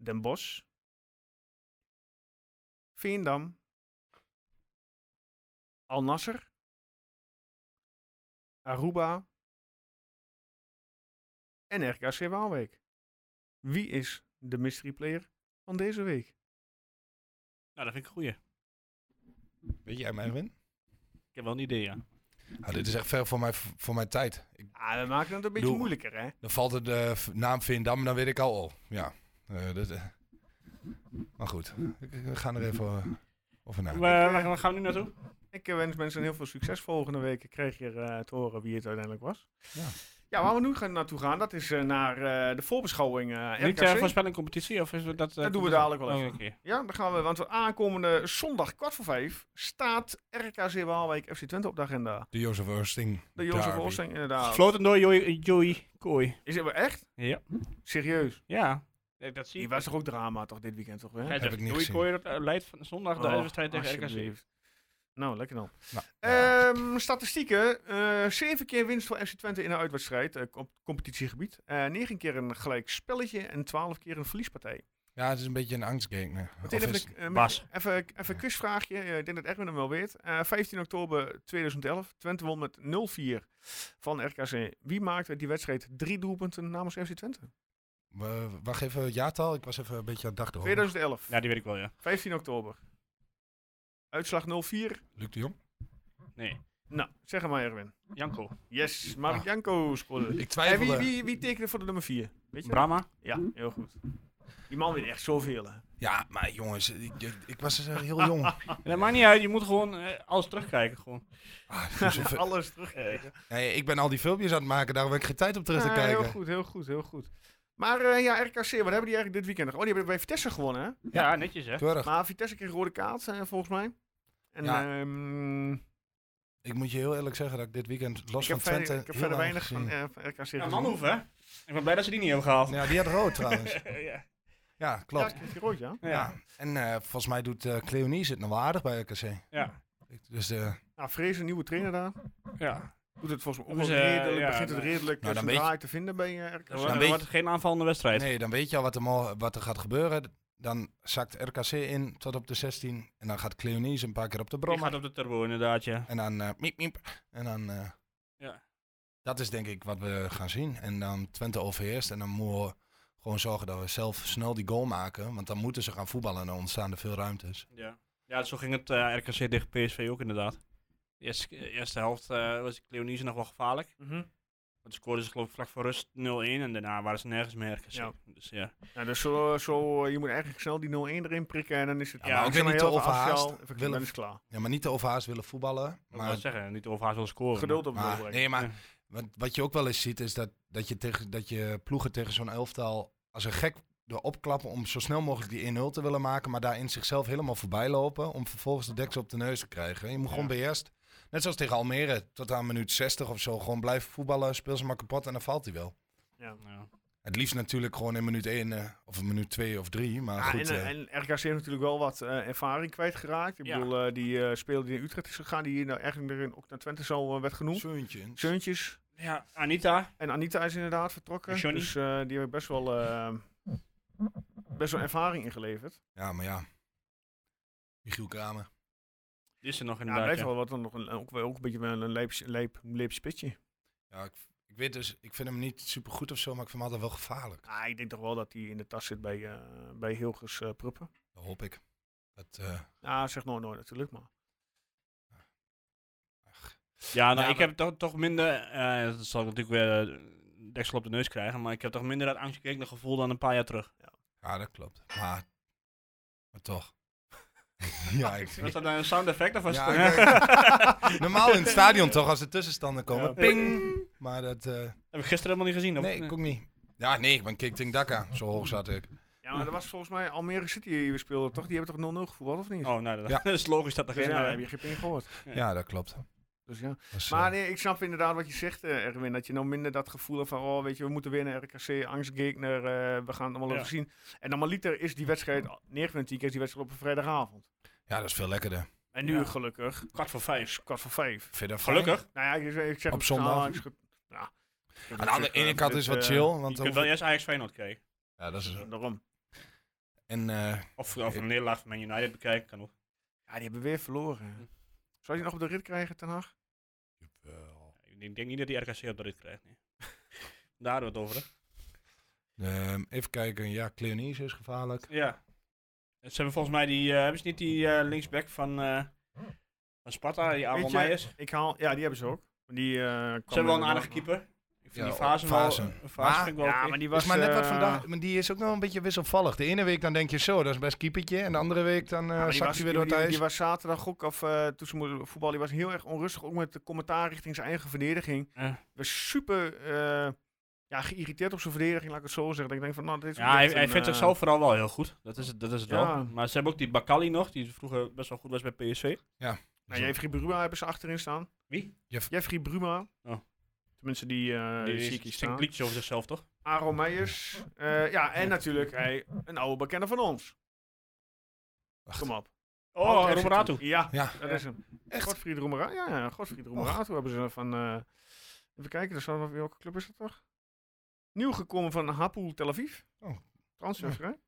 A: Den Bosch, Veendam, Al Nasser, Aruba en RKC Waalwijk. Wie is de mystery player van deze week?
C: Nou, dat vind ik een goeie.
D: Weet jij mijn win?
C: Ik heb wel een idee, ja.
D: Ah, dit is echt ver voor mijn, voor mijn tijd. Ik,
A: Ah, we maken het een beetje
D: Doe.
A: moeilijker, hè?
D: dan valt het de v- naam Vindam, dan weet ik al. al. Ja. eh, dat, eh. Maar goed, ik- ik- we gaan er even eh, over na.
C: Waar, waar- waar gaan we nu naartoe?
A: Ik eh, wens mensen heel veel succes volgende week. Ik kreeg hier eh, te horen wie het uiteindelijk was.
D: Ja.
A: Ja, waar we nu gaan, naartoe gaan, dat is eh, naar eh, de voorbeschouwing eh,
C: Niet
A: RKC.
C: eh, voorspelling competitie, of is dat...
A: Dat
C: eh,
A: doen we
C: komt-
A: dadelijk wel
C: Oh,
A: even.
C: oké.
A: Ja, dan gaan we, want aankomende zondag kwart voor vijf staat RKC Waalwijk FC Twente op de agenda.
D: De Jozef Oosting.
A: De Jozef
D: derby.
A: Oosting inderdaad.
C: Gefloten door Joey, Joey Kooi.
A: Is het wel echt?
C: Ja.
A: Serieus?
C: Ja. Nee, dat zie
A: Die
C: ik.
A: was toch ook drama toch dit weekend toch weer?
C: Hij zegt,
D: ik niet
C: Joey
D: gezien.
C: Kooi dat, eh, leidt van zondag de
A: Oh,
C: uitwedstrijd tegen RKC.
A: alsjeblieft. Nou, lekker dan.
D: Nou, ja.
A: Ehm, statistieken. eh zeven keer winst voor FC Twente in een uitwedstrijd eh, op competitiegebied. Eh negen keer een gelijk spelletje en twaalf keer een verliespartij.
D: ja, het is een beetje een angstgame. nee. Of
A: Meteen even,
D: is-
A: een- eh, met-
C: Bas.
A: even, even een quizvraagje. Eh, ik denk dat Erwin hem wel weet. Eh, 15 oktober 2011. Twente won met 0-4 van RKC. Wie maakte die wedstrijd drie doelpunten namens FC Twente?
D: we- wacht even, het jaartal. Ik was even een beetje aan het dachten. hoor.
A: 2011.
C: Ja, die weet ik wel, ja.
A: 15 oktober. Uitslag 0-4.
D: Luc de Jong?
C: Nee.
A: Nou, zeg hem maar Erwin.
C: Janko.
A: Yes, Mark
D: Ah.
A: Janko scoorde.
D: Ik
A: En wie,
D: twijfelde.
A: wie, wie tekende voor de nummer 4? Weet je? dat?
C: Brahma.
A: Ja, heel goed. Die man weet echt zoveel. Hè?
D: Ja, maar jongens, ik, ik, ik was eh, heel jong.
C: Ja, Dat maakt niet uit, je moet gewoon eh, alles terugkijken. Gewoon.
D: Ah, dus even-
A: Alles terugkijken.
D: nee, ik ben al die filmpjes aan het maken, daar heb ik geen tijd op terug te
A: Ah,
D: kijken.
A: Heel goed, heel goed, heel goed. Maar eh, ja, RKC, wat hebben die eigenlijk dit weekend nog? Oh, die hebben bij Vitesse gewonnen, hè?
C: Ja, netjes hè.
D: Keurig.
A: Maar Vitesse kreeg een rode kaart, eh, volgens mij. En
D: Ja.
A: ehm,
D: Ik moet je heel eerlijk zeggen dat ik dit weekend los
A: ik
D: van
A: heb verder,
D: Twente
A: ik heb
D: heel
A: verder
D: weinig
A: weinig van
D: gezien.
A: eh, van RKC gezien.
C: Ja, Manhoef hè. Ik ben blij dat ze die niet hebben gehaald.
D: Ja, die had rood trouwens.
C: ja.
D: Ja,
A: Ja,
D: klopt.
A: kreeg hij rood, ja.
D: Ja.
C: Ja.
D: En eh, volgens mij doet eh Cleonice het nog wel aardig bij RKC.
C: Ja.
D: Ik- Dus eh,
A: Nou, Vrees, een nieuwe trainer daar.
C: ja.
A: Doet het volgens mij ook
C: Dus,
A: wel
C: eh,
A: redelijk,
C: ja,
A: begint het
C: nee.
A: redelijk nou,
D: Nou, dan
A: zijn
D: weet je-
A: draai te vinden bij eh, RKC.
C: Dat
D: Dan
C: wordt,
D: weet-
C: wordt geen aanvallende wedstrijd.
D: nee, dan weet je al wat er, mo- wat er gaat gebeuren. Dan zakt RKC in tot op de 16. En dan gaat Cleonice een paar keer op de
C: Die
D: brommer.
C: gaat op de turbo inderdaad, ja.
D: En dan eh miep miep. En dan... eh,
C: Ja.
D: Dat is denk ik wat we gaan zien. En dan Twente overheerst. En dan moeten we gewoon zorgen dat we zelf snel die goal maken. Want dan moeten ze gaan voetballen en dan ontstaan er veel ruimtes.
C: Ja, ja zo ging het eh, RKC tegen PSV ook inderdaad. De eerste, de eerste helft eh, was Leonise nog wel gevaarlijk.
A: Mhm.
C: Want scoorden ze geloof ik vlak voor rust 0-1 en daarna waren ze nergens meer RKC.
A: Ja.
C: Dus ja.
A: Ja, dus zo, zo, eh, je moet eigenlijk snel die 0-1 erin prikken en dan is het...
C: Ja, maar
D: ook
A: zeg
D: weer niet
A: heel
D: te
A: even
D: overhaast.
A: afjaal, Even
D: Willem-
A: kijken, dan is het klaar.
D: Ja, maar niet te overhaast willen voetballen.
C: Maar, ik wou
D: Maar,
C: zeggen, niet overhaast wil scoren.
A: Geduld op
D: maar-
A: de
D: nee,
C: Ja.
D: maar wat, wat je ook wel eens ziet is dat, dat, je, tegen, dat je ploegen tegen zo'n elftal als een gek erop klappen om zo snel mogelijk die 1-0 te willen maken. Maar daarin zichzelf helemaal voorbij lopen om vervolgens de deksel op de neus te krijgen. Je moet gewoon
C: Ja.
D: beheerst. Net zoals tegen Almere, tot aan minuut 60 of zo. Gewoon blijven voetballen, speel ze maar kapot en dan valt hij wel.
A: Ja.
C: maar- Ja.
D: Het liefst natuurlijk gewoon in minuut 1 of in minuut 2 of 3. Maar
A: Ja,
D: goed,
A: en,
D: eh,
A: eh, en RKC heeft natuurlijk wel wat eh, ervaring kwijtgeraakt. Ik
C: Ja.
A: bedoel, eh, die eh speler die in Utrecht is gegaan, die nou eigenlijk erin, ook naar Twente zo eh, werd genoemd.
D: Zeuntje.
A: Zeuntjes.
C: ja, Anita.
A: En Anita is inderdaad vertrokken.
C: En Johnny.
A: Dus eh, die hebben best wel, eh, best wel ervaring ingeleverd.
D: Ja, maar ja. Michiel Kramer.
C: Die is er nog
A: Ja, het
C: inderdaad.
A: blijft
C: ja.
A: wel wat dan nog een, ook, wel- ook een beetje wel een leep, leep, leep spitje.
D: Ja, ik, ik weet dus, ik vind hem niet super goed of zo, maar ik vind hem altijd wel gevaarlijk.
A: Ah, ik denk toch wel dat hij in de tas zit bij, eh, bij Hilgers eh, Pruppen.
D: Dat hoop ik. Dat, eh,
A: Ah, zeg nooit nooit natuurlijk, maar...
C: Ja, nou,
D: Ja,
C: ik
D: maar-
C: heb toch, toch minder. eh, dat zal ik natuurlijk weer eh, deksel op de neus krijgen. Maar ik heb toch minder dat angstgekeken gevoel dan een paar jaar terug.
D: ja, dat klopt. Maar, maar toch. ja, ik,
C: Was dat nou een sound effect of was
D: Ja,
C: het
D: ik denk- normaal in het stadion toch, als er tussenstanden komen.
A: Ja.
D: Ping! Maar dat, eh,
C: Heb ik gisteren helemaal niet gezien. of-
D: nee, ik ook niet. Ja, nee, ik ben Kik Ting Dakka. Zo hoog zat ik.
A: Ja, maar dat was volgens mij Almere City die we speelden, toch? Die hebben toch 0-0 gevoetbald, of niet?
C: Oh, nou, dat,
D: Ja.
C: dat is logisch dat er
A: dus
C: geen.
A: ja, daar
C: eh,
A: heb je geen ping gehoord.
C: Ja.
D: Ja, dat klopt.
A: Dus ja.
D: Dus, eh,
A: Maar nee, ik snap inderdaad wat je zegt, eh, Erwin. Dat je nou minder dat gevoel hebt van, oh, weet je, we moeten winnen, RKC, angstgegner, eh, we gaan het allemaal
C: Ja.
A: even zien. En dan maar liter is die wedstrijd, 29 keer is die wedstrijd op een vrijdagavond.
D: ja, dat is veel lekkerder.
A: En nu
C: Ja.
A: gelukkig,
C: kwart voor vijf.
A: is kwart voor vijf.
D: Vind je dat fijn?
C: Gelukkig.
A: Nou ja, ik, ik zeg
D: Op
A: het
D: zondag?
A: nou, ik zeg het- ja.
D: Aan de andere
A: eh,
D: ene kant is het wat chill. Want
C: eh, je
D: dan
C: kunt wel eerst Ajax Feyenoord kijken.
D: ja, dat is,
A: Daarom.
D: en eh,
C: Of, of een nederlaag van Man United bekijken. Kan ook.
A: Ja, die hebben weer verloren.
D: Hm.
A: Zou je die nog op de rit krijgen, Ten Hag?
C: Ik denk, denk niet dat die RKC op de rit krijgt. Nee. Daar hadden we het over.
D: Ehm, even kijken, ja, Cleonice is gevaarlijk.
C: Hè? Ja. En Ze hebben volgens mij die. eh, hebben ze niet die eh, linksback van, eh, van Sparta, die Aaron
A: Weet je,
C: Meijers?
A: Ik haal, ja, die hebben ze ook. Die, eh,
C: Ze
A: kwam
C: hebben wel een
A: inderdaad-
C: aardige keeper. Ik vind
D: Ja,
C: die
D: op-
C: fase wel.
D: Fase.
C: Fase
D: Maar-
C: vind ik wel
A: Ja,
C: oké.
A: maar die
D: Was,
A: was...
D: maar net wat
A: eh,
D: vandaag, maar die is ook nog een beetje wisselvallig. De ene week dan denk je zo, dat is best keepertje. En de andere week dan eh
A: Ja, maar die,
D: zakt
A: was,
D: hij
A: die,
D: weer door het
A: die-
D: ijs.
A: die was zaterdag ook, of eh, toen ze moesten voetballen, die was heel erg onrustig. Ook met de commentaar richting zijn eigen verdediging.
C: Eh.
A: Was super eh, ja, geïrriteerd op zijn verdediging, laat ik het zo zeggen. Dat Ik denk van, nou, dit is
C: Ja, hij,
A: echt
C: hij
A: een,
C: vindt
A: eh,
C: zichzelf vooral wel heel goed. Dat is het, dat is het
A: Ja.
C: wel. Maar ze hebben ook die Bakali nog, die vroeger best wel goed was bij PSV.
A: Nou, Jeffrey Bruma hebben ze achterin staan.
C: Wie?
D: Jeff-
A: Jeffrey Bruma.
C: Oh.
A: Tenminste, die, eh
C: Die
A: zie ik hier
C: is een
A: staan.
C: liedje over zichzelf, toch?
A: Aaron Meijers. Eh, ja, en natuurlijk hij, een oude bekende van ons.
D: Wacht.
A: Kom op. Houd
C: Oh,
A: er even
C: Roberto.
A: toe. Ja,
D: Ja,
A: dat is hem.
D: Echt?
A: Godfried Roemera. Ja, ja, Godfried Roemerato hebben ze van... eh, even kijken, dus van, welke club is dat toch? Nieuw gekomen van Hapoel Tel Aviv.
D: Oh.
A: Transfervrij.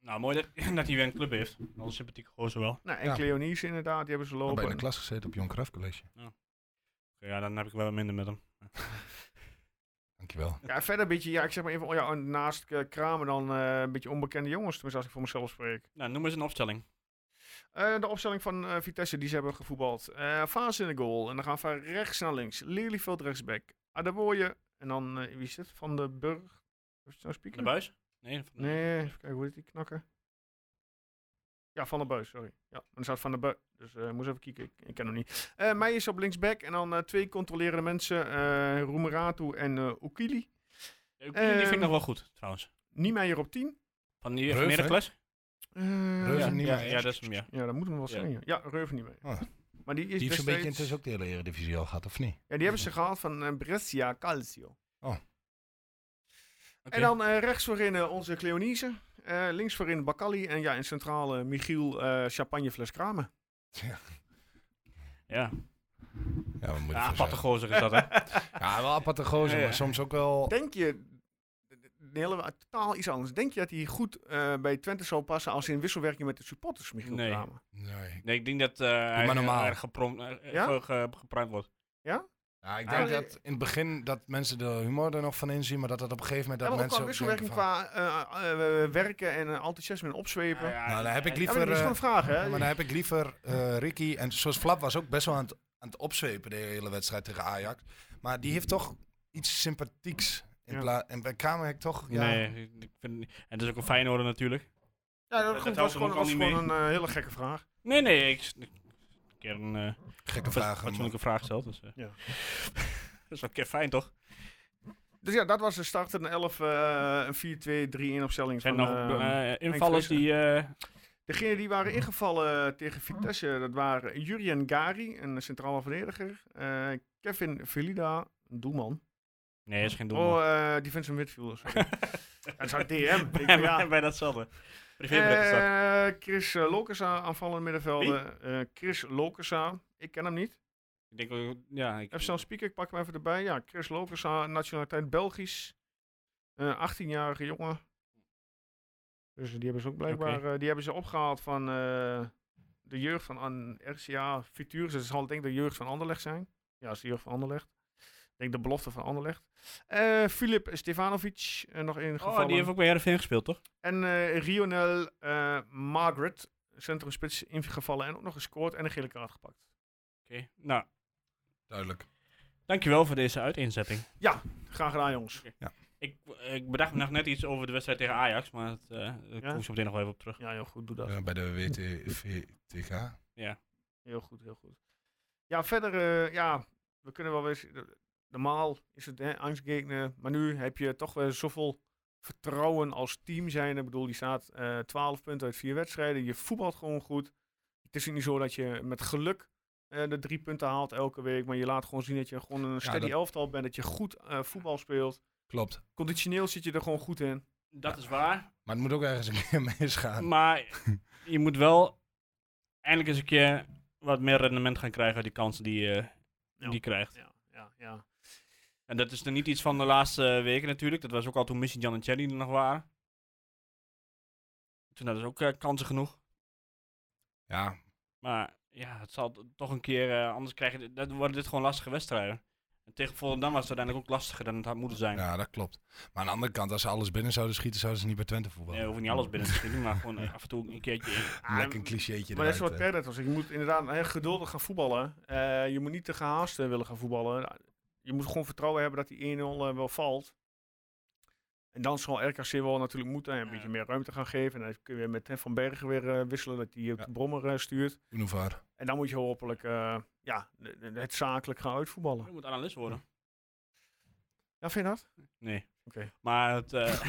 C: Nou, mooi dat, dat hij weer een club heeft. Al een sympathieke gozer wel.
A: Nou, en
D: Ja. Nou,
A: Cleonice inderdaad, die hebben ze
D: Ik ben
A: lopen.
D: in de klas gezeten op Jon Cruijff College.
C: Oké, ja, dan heb ik wel minder met hem.
D: Dankjewel.
A: Ja, verder een beetje, ja, ik zeg maar even, oh ja, en naast eh, Kramer dan eh, een beetje onbekende jongens, tenminste als ik voor mezelf spreek.
C: Nou, noem eens een opstelling.
A: Eh, de opstelling van eh, Vitesse, die ze hebben gevoetbald. Eh Vaas in de goal. En dan gaan we rechts naar links. Lelyveld rechtsback. Adaboye. En dan, eh, wie is het? Van de Burg. Is het nou
C: De
A: speaker?
C: buis? Nee, van de-
A: Nee, even kijken, hoe heet die knakker? Ja, Van der Buis, sorry. Ja, dan staat Van der Buis. Dus eh moest even kijken, ik, ik ken hem niet. Eh Meijers is op linksback en dan eh, twee controlerende mensen. eh Roemeratu en eh Oekili.
C: Die die vind
A: Ehm.
C: ik nog wel goed, trouwens.
A: Niemeyer op 10.
C: Van die
D: Reuven,
C: Heracles?
A: Eh,
D: Reuven
C: Ja,
D: niet
C: ja,
D: meer.
C: ja, dat is hem, ja.
A: ja, dat moeten we wel
C: Ja.
A: zijn. Ja, ja Reuven niet mee.
D: Ah.
A: Maar die is
D: Die heeft
A: best
D: zo'n beetje
A: steeds-
D: intussen ook de hele Eredivisie al gehad, of niet?
A: Ja, die hebben ze gehaald van eh, Brescia Calcio.
C: Oké.
A: En dan eh, rechts voorin eh, onze Cleonise. Eh, links voorin Bakali. En ja, in centrale Michiel eh Champagnefles Kramer.
C: Ja,
D: Ja, we moeten
C: ja aparte gozer is dat, hè?
D: Ja, wel aparte gozer,
C: Ja, ja.
D: maar soms ook wel...
A: Denk je, een hele, totaal iets anders. Denk je dat hij goed eh, bij Twente zou passen als in wisselwerking met de supporters, Michiel
C: Nee.
A: Kramer?
D: Nee.
C: Nee, ik denk dat eh hij
D: normaal.
C: erg geprom- eh, eh,
A: Ja?
C: ge- ge- gepruimd wordt.
A: Ja?
D: Ja, ik denk
A: Ah,
D: dat in het begin dat mensen de humor er nog van inzien, maar dat dat op een gegeven moment
A: Ja,
D: dat
A: maar ook
D: mensen
A: qua
D: ook
A: wisselwerking,
D: denken van-
A: qua eh, eh, eh, werken en eh, enthousiasme en
C: Ah,
A: opzwepen. Ja,
D: Nou, dan heb ik
A: maar
D: liever...
A: dat is
D: eh,
A: gewoon een vraag, hè?
D: Ja, maar dan heb ik liever eh, Ricky. En zoals Flap was ook best wel aan het, aan het opzwepen de hele wedstrijd tegen Ajax. Maar die heeft toch iets sympathieks. In
A: Ja.
D: pla- en bij Kamerhek toch? Ja,
C: Nee, ik- ik vind, het niet- en het is ook een Feyenoord natuurlijk.
A: Ja, dat,
C: dat
A: goed,
C: houdt
A: was
C: hem ook
A: gewoon,
C: al
A: was
C: niet
A: gewoon een eh, hele gekke vraag.
C: Nee, nee, ik... ik een keer een eh,
D: Gekke
C: fat-
D: vraag. maar-
C: fatsoenlijke vraag gesteld. Dus, eh.
A: Ja.
C: dat is wel een keer fijn, toch?
A: Dus ja, dat was de start. Een 11, eh, een 4-2-3-1 opstelling.
C: Zijn er
A: van,
C: nog
A: eh,
C: eh, invallers
A: Visser.
C: die... eh,
A: Degenen die waren ingevallen tegen Vitesse, dat waren Jurien Gari, een centrale verdediger. eh, Kevin Velida, een doelman.
C: Nee, is geen doel.
A: Oh, eh defensive midfielder, sorry. dat zou DM. Ik,
C: bij,
A: ja.
C: bij, bij datzelfde. Privébrug is dat.
A: Eh, Chris eh, Lokesa, aanvallende middenvelder. Eh, Chris Lokesa, ik ken hem niet.
C: Ik denk ook... Ja, ik... Oh,
A: FCL Speaker, ik pak hem even erbij. Ja, Chris Lokesa, nationaliteit Belgisch. Eh, 18-jarige jongen. Dus die hebben ze ook blijkbaar eh, die hebben ze opgehaald van eh, de jeugd van An RCA Futures. Dus het zal denk ik de jeugd van Anderlecht zijn. Ja, dat is de jeugd van Anderlecht. Ik denk de belofte van Anderlecht. Eh Filip Stefanovic, eh, nog één geval.
C: Oh, die heeft ook bij Heerenveen gespeeld, toch?
A: En eh, Rionel eh, Margaret, centrumspits ingevallen en ook nog gescoord en een gele kaart gepakt.
C: Oké. Nou,
D: Duidelijk.
C: dankjewel voor deze uiteenzetting.
A: Graag gedaan, jongens.
C: Ik, ik bedacht me nog net iets over de wedstrijd tegen Ajax, maar het, eh daar
A: Ja?
C: kom ik zo meteen nog wel even op terug.
A: Ja, heel goed, doe dat.
D: Eh, bij de WTVTK.
A: Heel goed, heel goed. Ja, verder, eh, ja, we kunnen wel eens. Normaal is het hè, angstgegner, maar nu heb je toch weer zoveel vertrouwen als team zijn. Ik bedoel, die staat eh 12 punten uit vier wedstrijden. Je voetbalt gewoon goed. Het is niet zo dat je met geluk eh, de drie punten haalt elke week, maar je laat gewoon zien dat je gewoon een steady
D: dat-
A: elftal bent, dat je goed eh, voetbal speelt.
D: Klopt.
A: Conditioneel zit je er gewoon goed in.
C: Dat is waar,
D: Maar het moet ook ergens een keer misgaan.
C: maar je moet wel eindelijk eens een keer wat meer rendement gaan krijgen uit die kansen die je
A: Ja.
C: die je krijgt.
A: Ja, ja, ja.
C: En dat is dan niet iets van de laatste eh, weken natuurlijk. Dat was ook al toen Missy Jan en Cherry er nog waren. Toen hadden ze ook eh, kansen genoeg.
D: Ja,
C: Maar ja, het zal t- toch een keer, eh, anders krijg je, dit- dat worden dit gewoon lastige wedstrijden. En tegen Volendam was het uiteindelijk ook lastiger dan het had moeten zijn.
D: ja, dat klopt. Maar aan de andere kant, als ze alles binnen zouden schieten, zouden ze niet bij Twente
C: Nee,
D: voetballen.
C: we hoeven niet alles binnen te schieten, maar gewoon eh, af en toe een keertje
A: Ah,
D: Lekker een clichétje
A: Maar dat is
D: eruit,
A: wat
D: eh.
A: Perret was. Je moet inderdaad heel geduldig gaan voetballen. Eh, je moet niet te gehaast eh, willen gaan voetballen. Je moet gewoon vertrouwen hebben dat die 1-0 eh, wel valt. En dan zal RKC wel natuurlijk moeten en een
C: Ja.
A: beetje meer ruimte gaan geven. En dan kun je weer met Hen van Bergen weer eh, wisselen, dat hij op
D: Ja.
A: de brommer eh, stuurt.
D: Unovar.
A: En dan moet je hopelijk eh, ja, de- de- het zakelijk gaan uitvoetballen.
C: Je moet analist worden.
A: Ja, vind je dat?
C: Nee.
A: Oké.
C: Maar het. eh,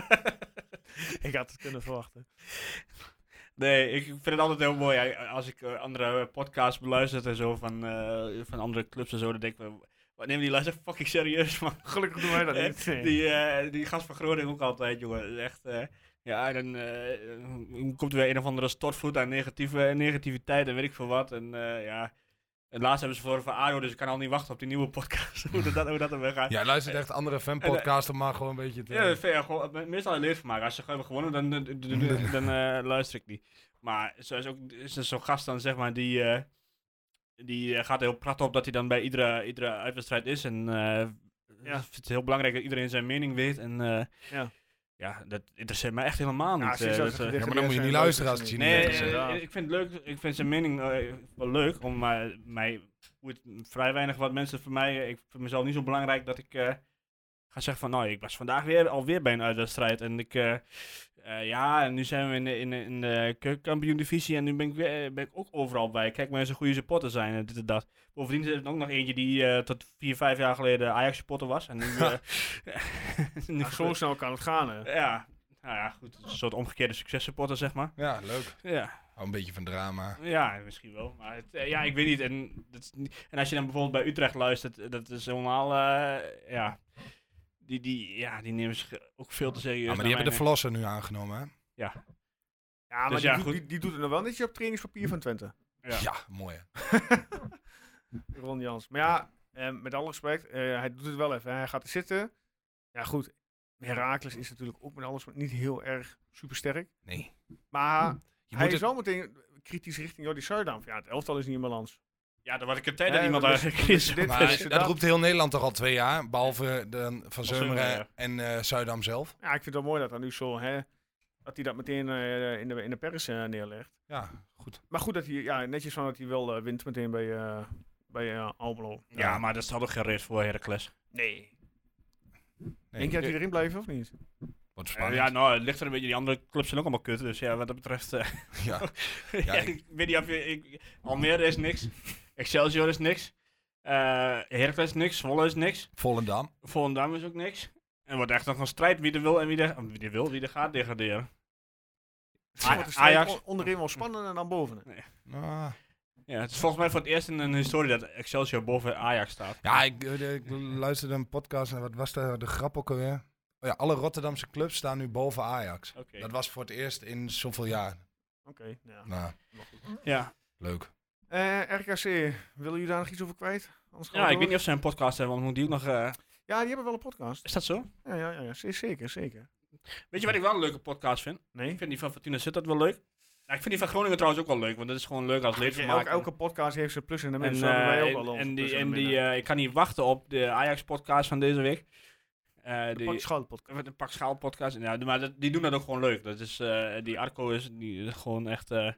A: Ik had het kunnen verwachten.
C: nee, ik vind het altijd heel mooi eh, als ik eh, andere podcasts beluister en zo van, eh, van andere clubs en zo. Dan denk ik, wel, wat nemen die luister fucking serieus, man.
A: Gelukkig doen wij dat niet. Nee.
C: Die, eh, die gast van Groningen ook altijd, jongen. Echt. eh, ja, en dan eh, komt er weer een of andere stortvloed aan negatieve, negativiteit en weet ik veel wat. En eh, ja. En laatst hebben ze voor van Aro, dus ik kan al niet wachten op die nieuwe podcast. hoe dat, hoe dat er weer gaat.
D: Ja, luistert echt andere fanpodcasts om maar gewoon een beetje te...
C: eh, Ja, dat vind ik gewoon, me- meestal een leedvermaak. Als ze gewoon hebben gewonnen, dan, dan, dan- dan- dan, eh, luister ik niet. Maar zoals ook is er zo'n gast dan, zeg maar, die, eh, die eh, gaat heel prat op dat hij dan bij iedere, iedere uitwedstrijd is. En eh
A: Ja.
C: vindt het heel belangrijk dat iedereen zijn mening weet. En eh,
A: Ja.
C: ja, dat interesseert mij echt helemaal
A: Ja,
C: niet.
A: ze is
C: eh,
A: als een
C: dat, eh,
D: Ja,
A: dichter
D: maar dan moet je
A: zijn,
D: niet luisteren als het je niet
C: Nee,
A: luisteren ze
D: interesseert.
C: eh,
A: niet.
C: ik vind, het leuk, ik vind zijn mening eh, wel leuk, om, maar mij boeit vrij weinig wat mensen voor mij, eh, ik vind mezelf niet zo belangrijk dat ik eh, ga zeggen van, nou, ik was vandaag weer, alweer bij een uitwedstrijd en ik, eh, eh, ja, en nu zijn we in de, in de, in de keukenkampioen divisie en nu ben ik, weer, eh, ben ik ook overal bij. Kijk, mensen goede supporters zijn en dit en dat. Bovendien is er ook nog eentje die eh, tot vier, vijf jaar geleden Ajax supporter was en nu... eh, nu-
A: Ja, zo snel kan het gaan, hè.
C: Ja, nou ja, goed, een soort omgekeerde successupporter, zeg maar.
D: Ja, leuk.
C: Ja.
D: Hou een beetje van drama.
C: Ja, misschien wel. Maar het, eh, ja, ik weet niet. En, dat is niet- en als je dan bijvoorbeeld bij Utrecht luistert, eh, dat is helemaal. eh, ja. Die, die, ja, die nemen zich ook veel te serieus.
D: Ja, Ah, maar
C: naar
D: die hebben de
C: mijn-
D: verlosser nu aangenomen, hè?
A: Ja, maar
C: Dus
A: die,
C: ja,
A: doet,
C: goed.
A: die, die doet het nog wel netjes op trainingspapier van Twente.
C: Ja.
D: Ja, mooi. hè?
A: Ron Jans. Maar ja, eh, met alle respect, eh, hij doet het wel even. Hij gaat er zitten. Ja, goed. Herakles is natuurlijk ook met alles niet heel erg supersterk.
D: Nee.
A: Maar
D: Je
A: hij
D: moet
A: is
D: het,
A: wel meteen kritisch richting Jordi Zuidam. Ja, het elftal is niet in balans.
C: Ja, dan word ik een tijd dat
A: Ja,
C: iemand
A: dat is-
C: eigenlijk
A: dat
C: is.
A: is dit.
D: Maar
A: precies,
D: dat,
A: dat-
D: roept heel Nederland toch al twee jaar, behalve dan van
C: Zeumeren,
D: Zeumeren
C: ja.
D: en eh, Zuidam zelf.
A: Ja, ik vind het wel mooi dat dan nu zo, hè, dat hij dat meteen eh, in, de, in de pers eh, neerlegt.
D: Ja, goed.
A: Maar goed, dat hij, ja, netjes van dat hij wel eh, wint meteen bij, eh bij eh, Almelo.
C: Ja, maar dat is toch geen race voor Heracles.
A: Nee.
D: Nee,
A: Denk je dat hij erin blijft of niet?
D: Wordt
C: Eh,
D: spannend.
C: ja, nou, het ligt er een beetje. Die andere clubs zijn ook allemaal kut. Dus ja, wat dat betreft. eh,
D: ja.
C: ja,
D: ik-
C: ik... weet niet of je. Ik, Almere is niks. Excelsior is niks. Eh Heracles is niks. Zwolle is niks.
D: Volendam.
C: Volendam is ook niks. En wordt echt nog een strijd wie er wil en wie er, wie er, wil, wie er gaat degraderen. Ah,
A: Wordt de strijd
C: Ajax.
A: on- onderin wel spannend en dan bovenin.
D: Ah.
C: Ja, het is volgens mij voor het eerst in een historie dat Excelsior boven Ajax staat.
D: Ja, ik, eh, ik luisterde een podcast en wat was de, de grap ook alweer? Oh ja, alle Rotterdamse clubs staan nu boven Ajax.
C: Oké.
D: Dat was voor het eerst in zoveel jaar.
A: Oké, ja.
D: Nou,
C: Ja,
D: leuk.
A: Eh, RKC, willen jullie daar nog iets over kwijt? Anders gaan we
C: ja ik
A: door.
C: weet niet of ze een podcast hebben, want moet die ook nog... eh,
A: Ja, die hebben wel een podcast.
C: is dat zo?
A: Ja, ja, ja, ja, z- zeker, zeker.
C: Weet je wat ik wel een leuke podcast vind?
A: Nee?
C: Ik vind die van Fortuna Sittard wel leuk. Nou, ik vind die van Groningen trouwens ook wel leuk, want dat is gewoon leuk als leedvermaak.
A: Elke, elke podcast heeft zijn plus en de
C: en,
A: mensen. hebben wij
C: eh,
A: ook dus al
C: en,
A: onze
C: en
A: plus
C: die,
A: en
C: en
A: de
C: die,
A: minnen.
C: eh, ik kan niet wachten op de Ajax-podcast van deze week. Eh,
A: de
C: die-
A: Pak Schaal podcast.
C: Met een pak schaal podcast. Ja, maar dat- die doen dat ook gewoon leuk. Dat is, eh, die Arco is, die is gewoon echt. eh,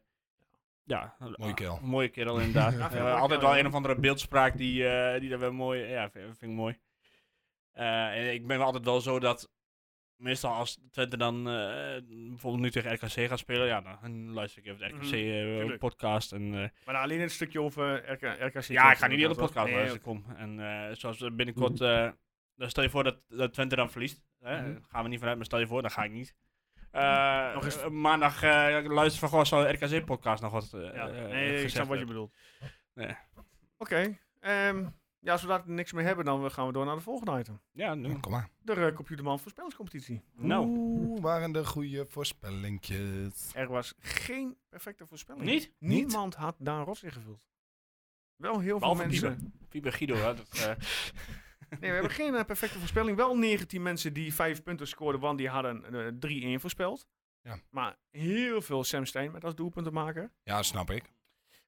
C: ja,
D: Mooie kerel.
C: Een mooie kerel, inderdaad.
A: vind ik
C: Eh,
A: wel
C: altijd
A: mooi,
C: wel
A: ja.
C: een of andere beeldspraak die, eh, die dat wel mooi. Ja, vind, vind ik mooi. Eh, en ik ben wel altijd wel zo dat. Meestal als Twente dan eh, bijvoorbeeld nu tegen RKC gaat spelen, ja, dan luister ik even de RKC eh,
A: Mhm, tuurlijk.
C: podcast. En, eh,
A: Maar nou, alleen een stukje over RK, RKC.
C: ja, ik ga niet de hele
A: Dat was-
C: podcast
A: nee,
C: luisteren,
A: oké.
C: kom. En eh, zoals we binnenkort, eh, dan stel je voor dat, dat Twente dan verliest. Hè? Gaan we niet vanuit, maar stel je voor, dan ga ik niet. Eh,
A: Nog eens-
C: eh, maandag eh, ik luister van, goh, zou RKC-podcast nog wat eh,
A: Ja,
C: eh,
A: nee, ik
C: gezegd
A: snap wat je
C: hebben?
A: bedoelt.
C: Nee.
A: Oké. ehm, ja, zodat we niks meer hebben, dan gaan we door naar de volgende item.
C: Ja, nu.
D: Ja, kom maar.
A: De eh, Computerman voorspellingscompetitie.
D: Hm.
C: Nou,
D: Oeh, waren de goede voorspellingjes.
A: Er was geen perfecte voorspelling.
C: niet?
A: Niemand had daar een rots in gevuld. Wel heel
C: Behalve
A: veel mensen.
C: Pieper Guido, hè. Dat, eh,
A: Nee, we hebben geen eh, perfecte voorspelling. Wel 19 mensen die vijf punten scoorden, want die hadden eh, 3-1 voorspeld.
D: Ja.
A: Maar heel veel Sam Stein met als doelpunt te maken.
D: Ja, snap ik.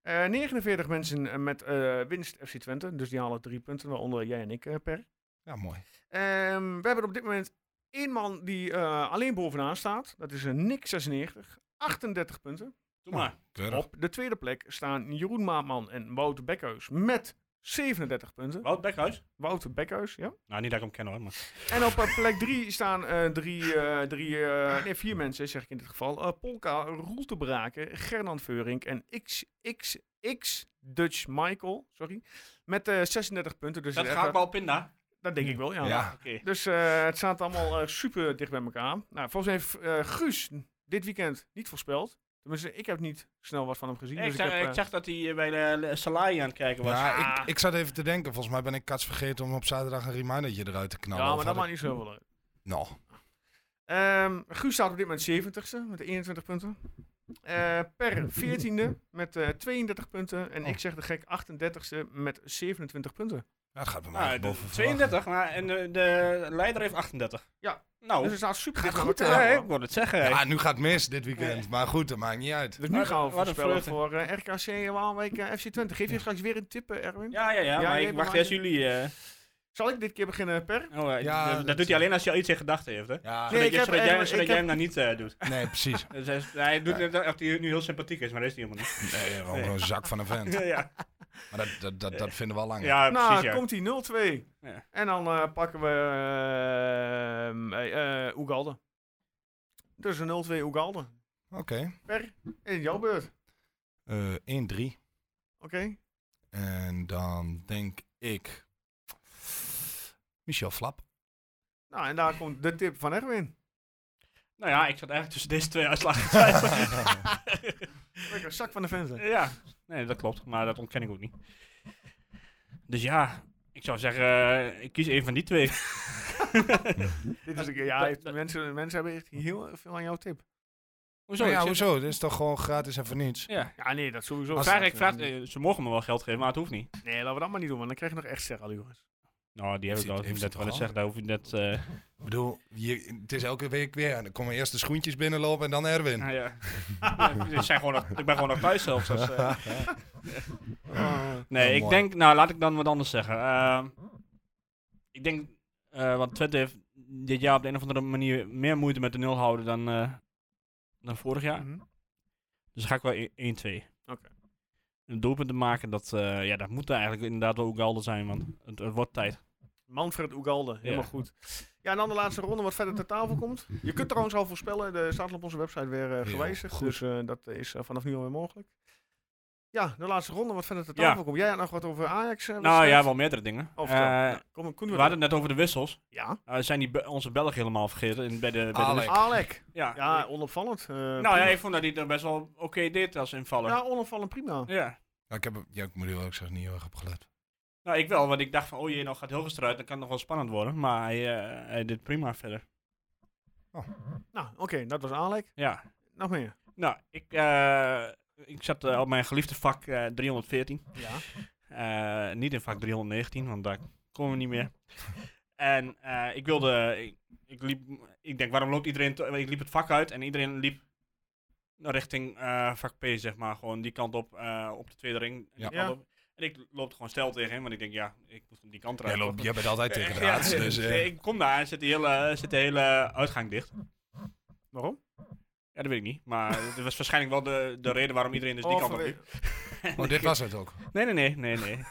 A: Eh, 49 mensen eh, met eh, winst FC Twente. Dus die halen drie punten, waaronder jij en ik eh, per.
D: Ja, mooi.
A: Ehm, we hebben op dit moment één man die eh, alleen bovenaan staat. Dat is een Nick 96. 38 punten.
C: doe maar.
D: Keurig.
A: Op de tweede plek staan Jeroen Maatman en Wouter Bekhuis met 37 punten.
C: Wout Bekhuis?
A: Wouter Bekhuis, ja.
C: Nou, niet dat ik hem ken hoor, maar...
A: En op eh, plek 3 staan eh, drie, eh, drie, eh, nee, vier mensen, zeg ik in dit geval. Eh, Polka, Roel te Braken, Gernand Veurink en XXX Dutch Michael, sorry. Met eh, 36 punten. Dus
C: Dat
A: het-
C: gaat wel pinda.
A: dat denk ik wel, ja.
D: Ja.
C: Oké.
A: Dus eh, het staat allemaal eh, super dicht bij elkaar. Nou, volgens mij heeft eh, Guus dit weekend niet voorspeld. Tenminste, ik heb niet snel wat van hem gezien.
C: Ik,
A: dus
C: zag,
A: heb, eh,
C: ik zag dat hij eh, bij de de Salai aan het kijken was.
D: Ja, ik, ik zat even te denken. Volgens mij ben ik kats vergeten om op zaterdag een remindertje eruit te knallen.
A: ja,
D: Of
A: maar dat
D: had
A: maakt niet zoveel uit.
D: ik- Nou,
A: Ehm, Guus staat op dit moment 70ste met 21 punten. Eh, per 14e met eh, 32 punten. En
D: Oh.
A: ik zeg de gek 38ste met 27 punten.
D: ja, dat gaat bij mij
C: Nou,
D: echt
C: de-
D: boven verwachting.
C: 32, maar en de, de leider heeft 38.
A: Ja.
C: Nou,
A: Dus het staat super
D: Gaat
A: dicht bij
D: goed,
A: elkaar,
C: Ja,
A: hoor.
C: ik wil het zeggen. hè.
D: Ja, nu gaat het mis dit weekend. Maar goed, dat maakt niet uit.
A: Dus nu
C: Wat-
A: gaan we
C: wat een
A: voorspellen
C: vreugde.
A: voor eh, RKC Waalwijk eh, FC 20. Geef je straks weer een tip, eh, Erwin?
C: Ja, ja, ja,
A: Ja,
C: maar
A: jij
C: ik wacht
A: bewaart
C: eerst jullie. eh.
A: Zal ik dit keer beginnen, Per?
C: oh, eh,
D: Ja, dat
C: dat, dat doet
D: is-
C: hij alleen als je al iets in gedachten heeft, hè?
D: Ja,
A: Nee,
C: Zodat,
A: ik
C: je-
A: heb
C: zodat,
A: even-
C: jij, zodat
A: ik
C: jij
A: heb-
C: hem nou niet eh, doet.
D: nee, precies.
C: Dus hij, is- hij doet net alsof hij nu heel sympathiek is, maar dat is hij helemaal niet.
D: Nee, gewoon
C: Nee.
D: een zak van een vent.
C: ja, ja.
D: Maar dat, dat, dat, dat vinden we al lang. hè?
C: ja,
A: nou,
C: precies. Ja.
A: komt hij 0-2.
C: Ja.
A: En dan eh, pakken we eh eh Oegalde. Dus een 0-2 Oegalde.
D: Oké.
A: In jouw beurt.
D: Eh, 1-3.
A: Oké.
D: En dan denk ik... Michel Flap.
A: Nou, en daar komt de tip van Erwin.
C: Nou ja, ik zat eigenlijk tussen deze twee uitslagen te twijfelen.
A: Lekker zak van de venten.
C: ja, nee, dat klopt, maar dat ontken ik ook niet. Dus ja, ik zou zeggen, eh, ik kies een van die twee.
A: Dit is een, keer- ja,
C: dat- dat-
A: mensen, mensen hebben echt heel veel aan jouw tip.
C: Hoezo?
D: Nou
C: Ik
D: ja,
C: zit-
D: hoezo? Dit is toch gewoon gratis en voor niets?
C: Ja.
A: Ja, nee, dat sowieso.
C: Ik vraag, ik vraag, eh, ze mogen me wel geld geven, maar het hoeft niet.
A: Nee, laten we dat maar niet doen, want dan krijg je nog echt sterrenlures.
C: Nou, die heb ik
D: Heeft
C: al.
D: hij- heeft
C: Dat
D: hij
C: wil
D: toch
C: ik zeggen, daar hoef je net... eh,
D: Ik bedoel, je, het is elke week weer. Dan komen eerst de schoentjes binnenlopen en dan Erwin.
C: Ah, ja. Ja, ik, zijn gewoon nog, ik ben gewoon nog thuis zelfs. dus, eh.
A: Oh.
C: Nee,
D: Ja,
C: ik
D: mooi.
C: denk, nou laat ik dan wat anders zeggen. Ehm, ik denk, eh want Twente heeft dit jaar op de een of andere manier meer moeite met de nul houden dan, eh, dan vorig jaar.
A: Mhm.
C: Dus ga ik wel 1-2.
A: Oké.
C: Een doelpunt te maken, dat, eh, ja, dat moet eigenlijk inderdaad wel Ugalde zijn, want het, het wordt tijd.
A: Manfred Ugalde, helemaal
C: Ja.
A: goed. Ja, en dan de laatste ronde wat verder ter tafel komt. Je kunt trouwens al voorspellen, de staat al op onze website weer eh, gewijzigd.
D: goed.
A: Dus eh, dat is eh, vanaf nu alweer mogelijk. Ja, de laatste ronde wat verder ter
C: Ja.
A: tafel komt. Jij had nog wat over Ajax? eh,
C: Nou
A: wedstrijd?
C: ja, wel meerdere dingen.
D: Oh,
A: Of
C: Eh,
D: Nou,
A: kom, kom,
C: we hadden het net over de wissels.
A: Ja,
C: Eh, zijn die Be- onze Belgen helemaal vergeten in, bij de, bij de
D: Alek.
C: wissel-
A: Alek.
C: ja.
A: Ja,
C: Ik-
A: onopvallend. eh,
C: nou ja,
A: prima.
C: ik vond dat hij er best wel oké deed als invaller.
A: ja, onopvallend prima.
C: ja.
D: Ja, ik, heb, ja, ik moet heel eerlijk zeggen, niet heel erg opgelet.
C: Nou, ik wel, want ik dacht van, oh jee, nou gaat Hilgers eruit, dan kan het nog wel spannend worden. Maar hij, eh, hij deed prima verder.
A: Nou, oké, dat was Alek.
C: Ja.
A: Nog meer.
C: Nou, ik, eh, ik zat eh, op mijn geliefde vak eh, 314.
A: Ja.
C: Eh, niet in vak 319, want daar komen we niet meer. en eh, ik wilde, ik, ik liep, ik denk, waarom loopt iedereen, to- ik liep het vak uit en iedereen liep richting eh, vak P, zeg maar. Gewoon die kant op, eh, op de tweede ring. Die
D: Ja.
C: kant
A: Ja.
C: op. En ik loop er gewoon stijl tegen hem, want ik denk, ja, ik moet van die kant eruit.
D: Jij, loopt, jij bent altijd tegen de
C: Ja,
D: raads, dus... eh,
C: nee, ik kom daar en zit de hele, zit de hele uitgang dicht.
A: Waarom?
C: Ja, dat weet ik niet. Maar dat was waarschijnlijk wel de, de reden waarom iedereen dus die kant op liep.
D: oh, dit was het ook.
C: Nee, nee, nee, nee, nee.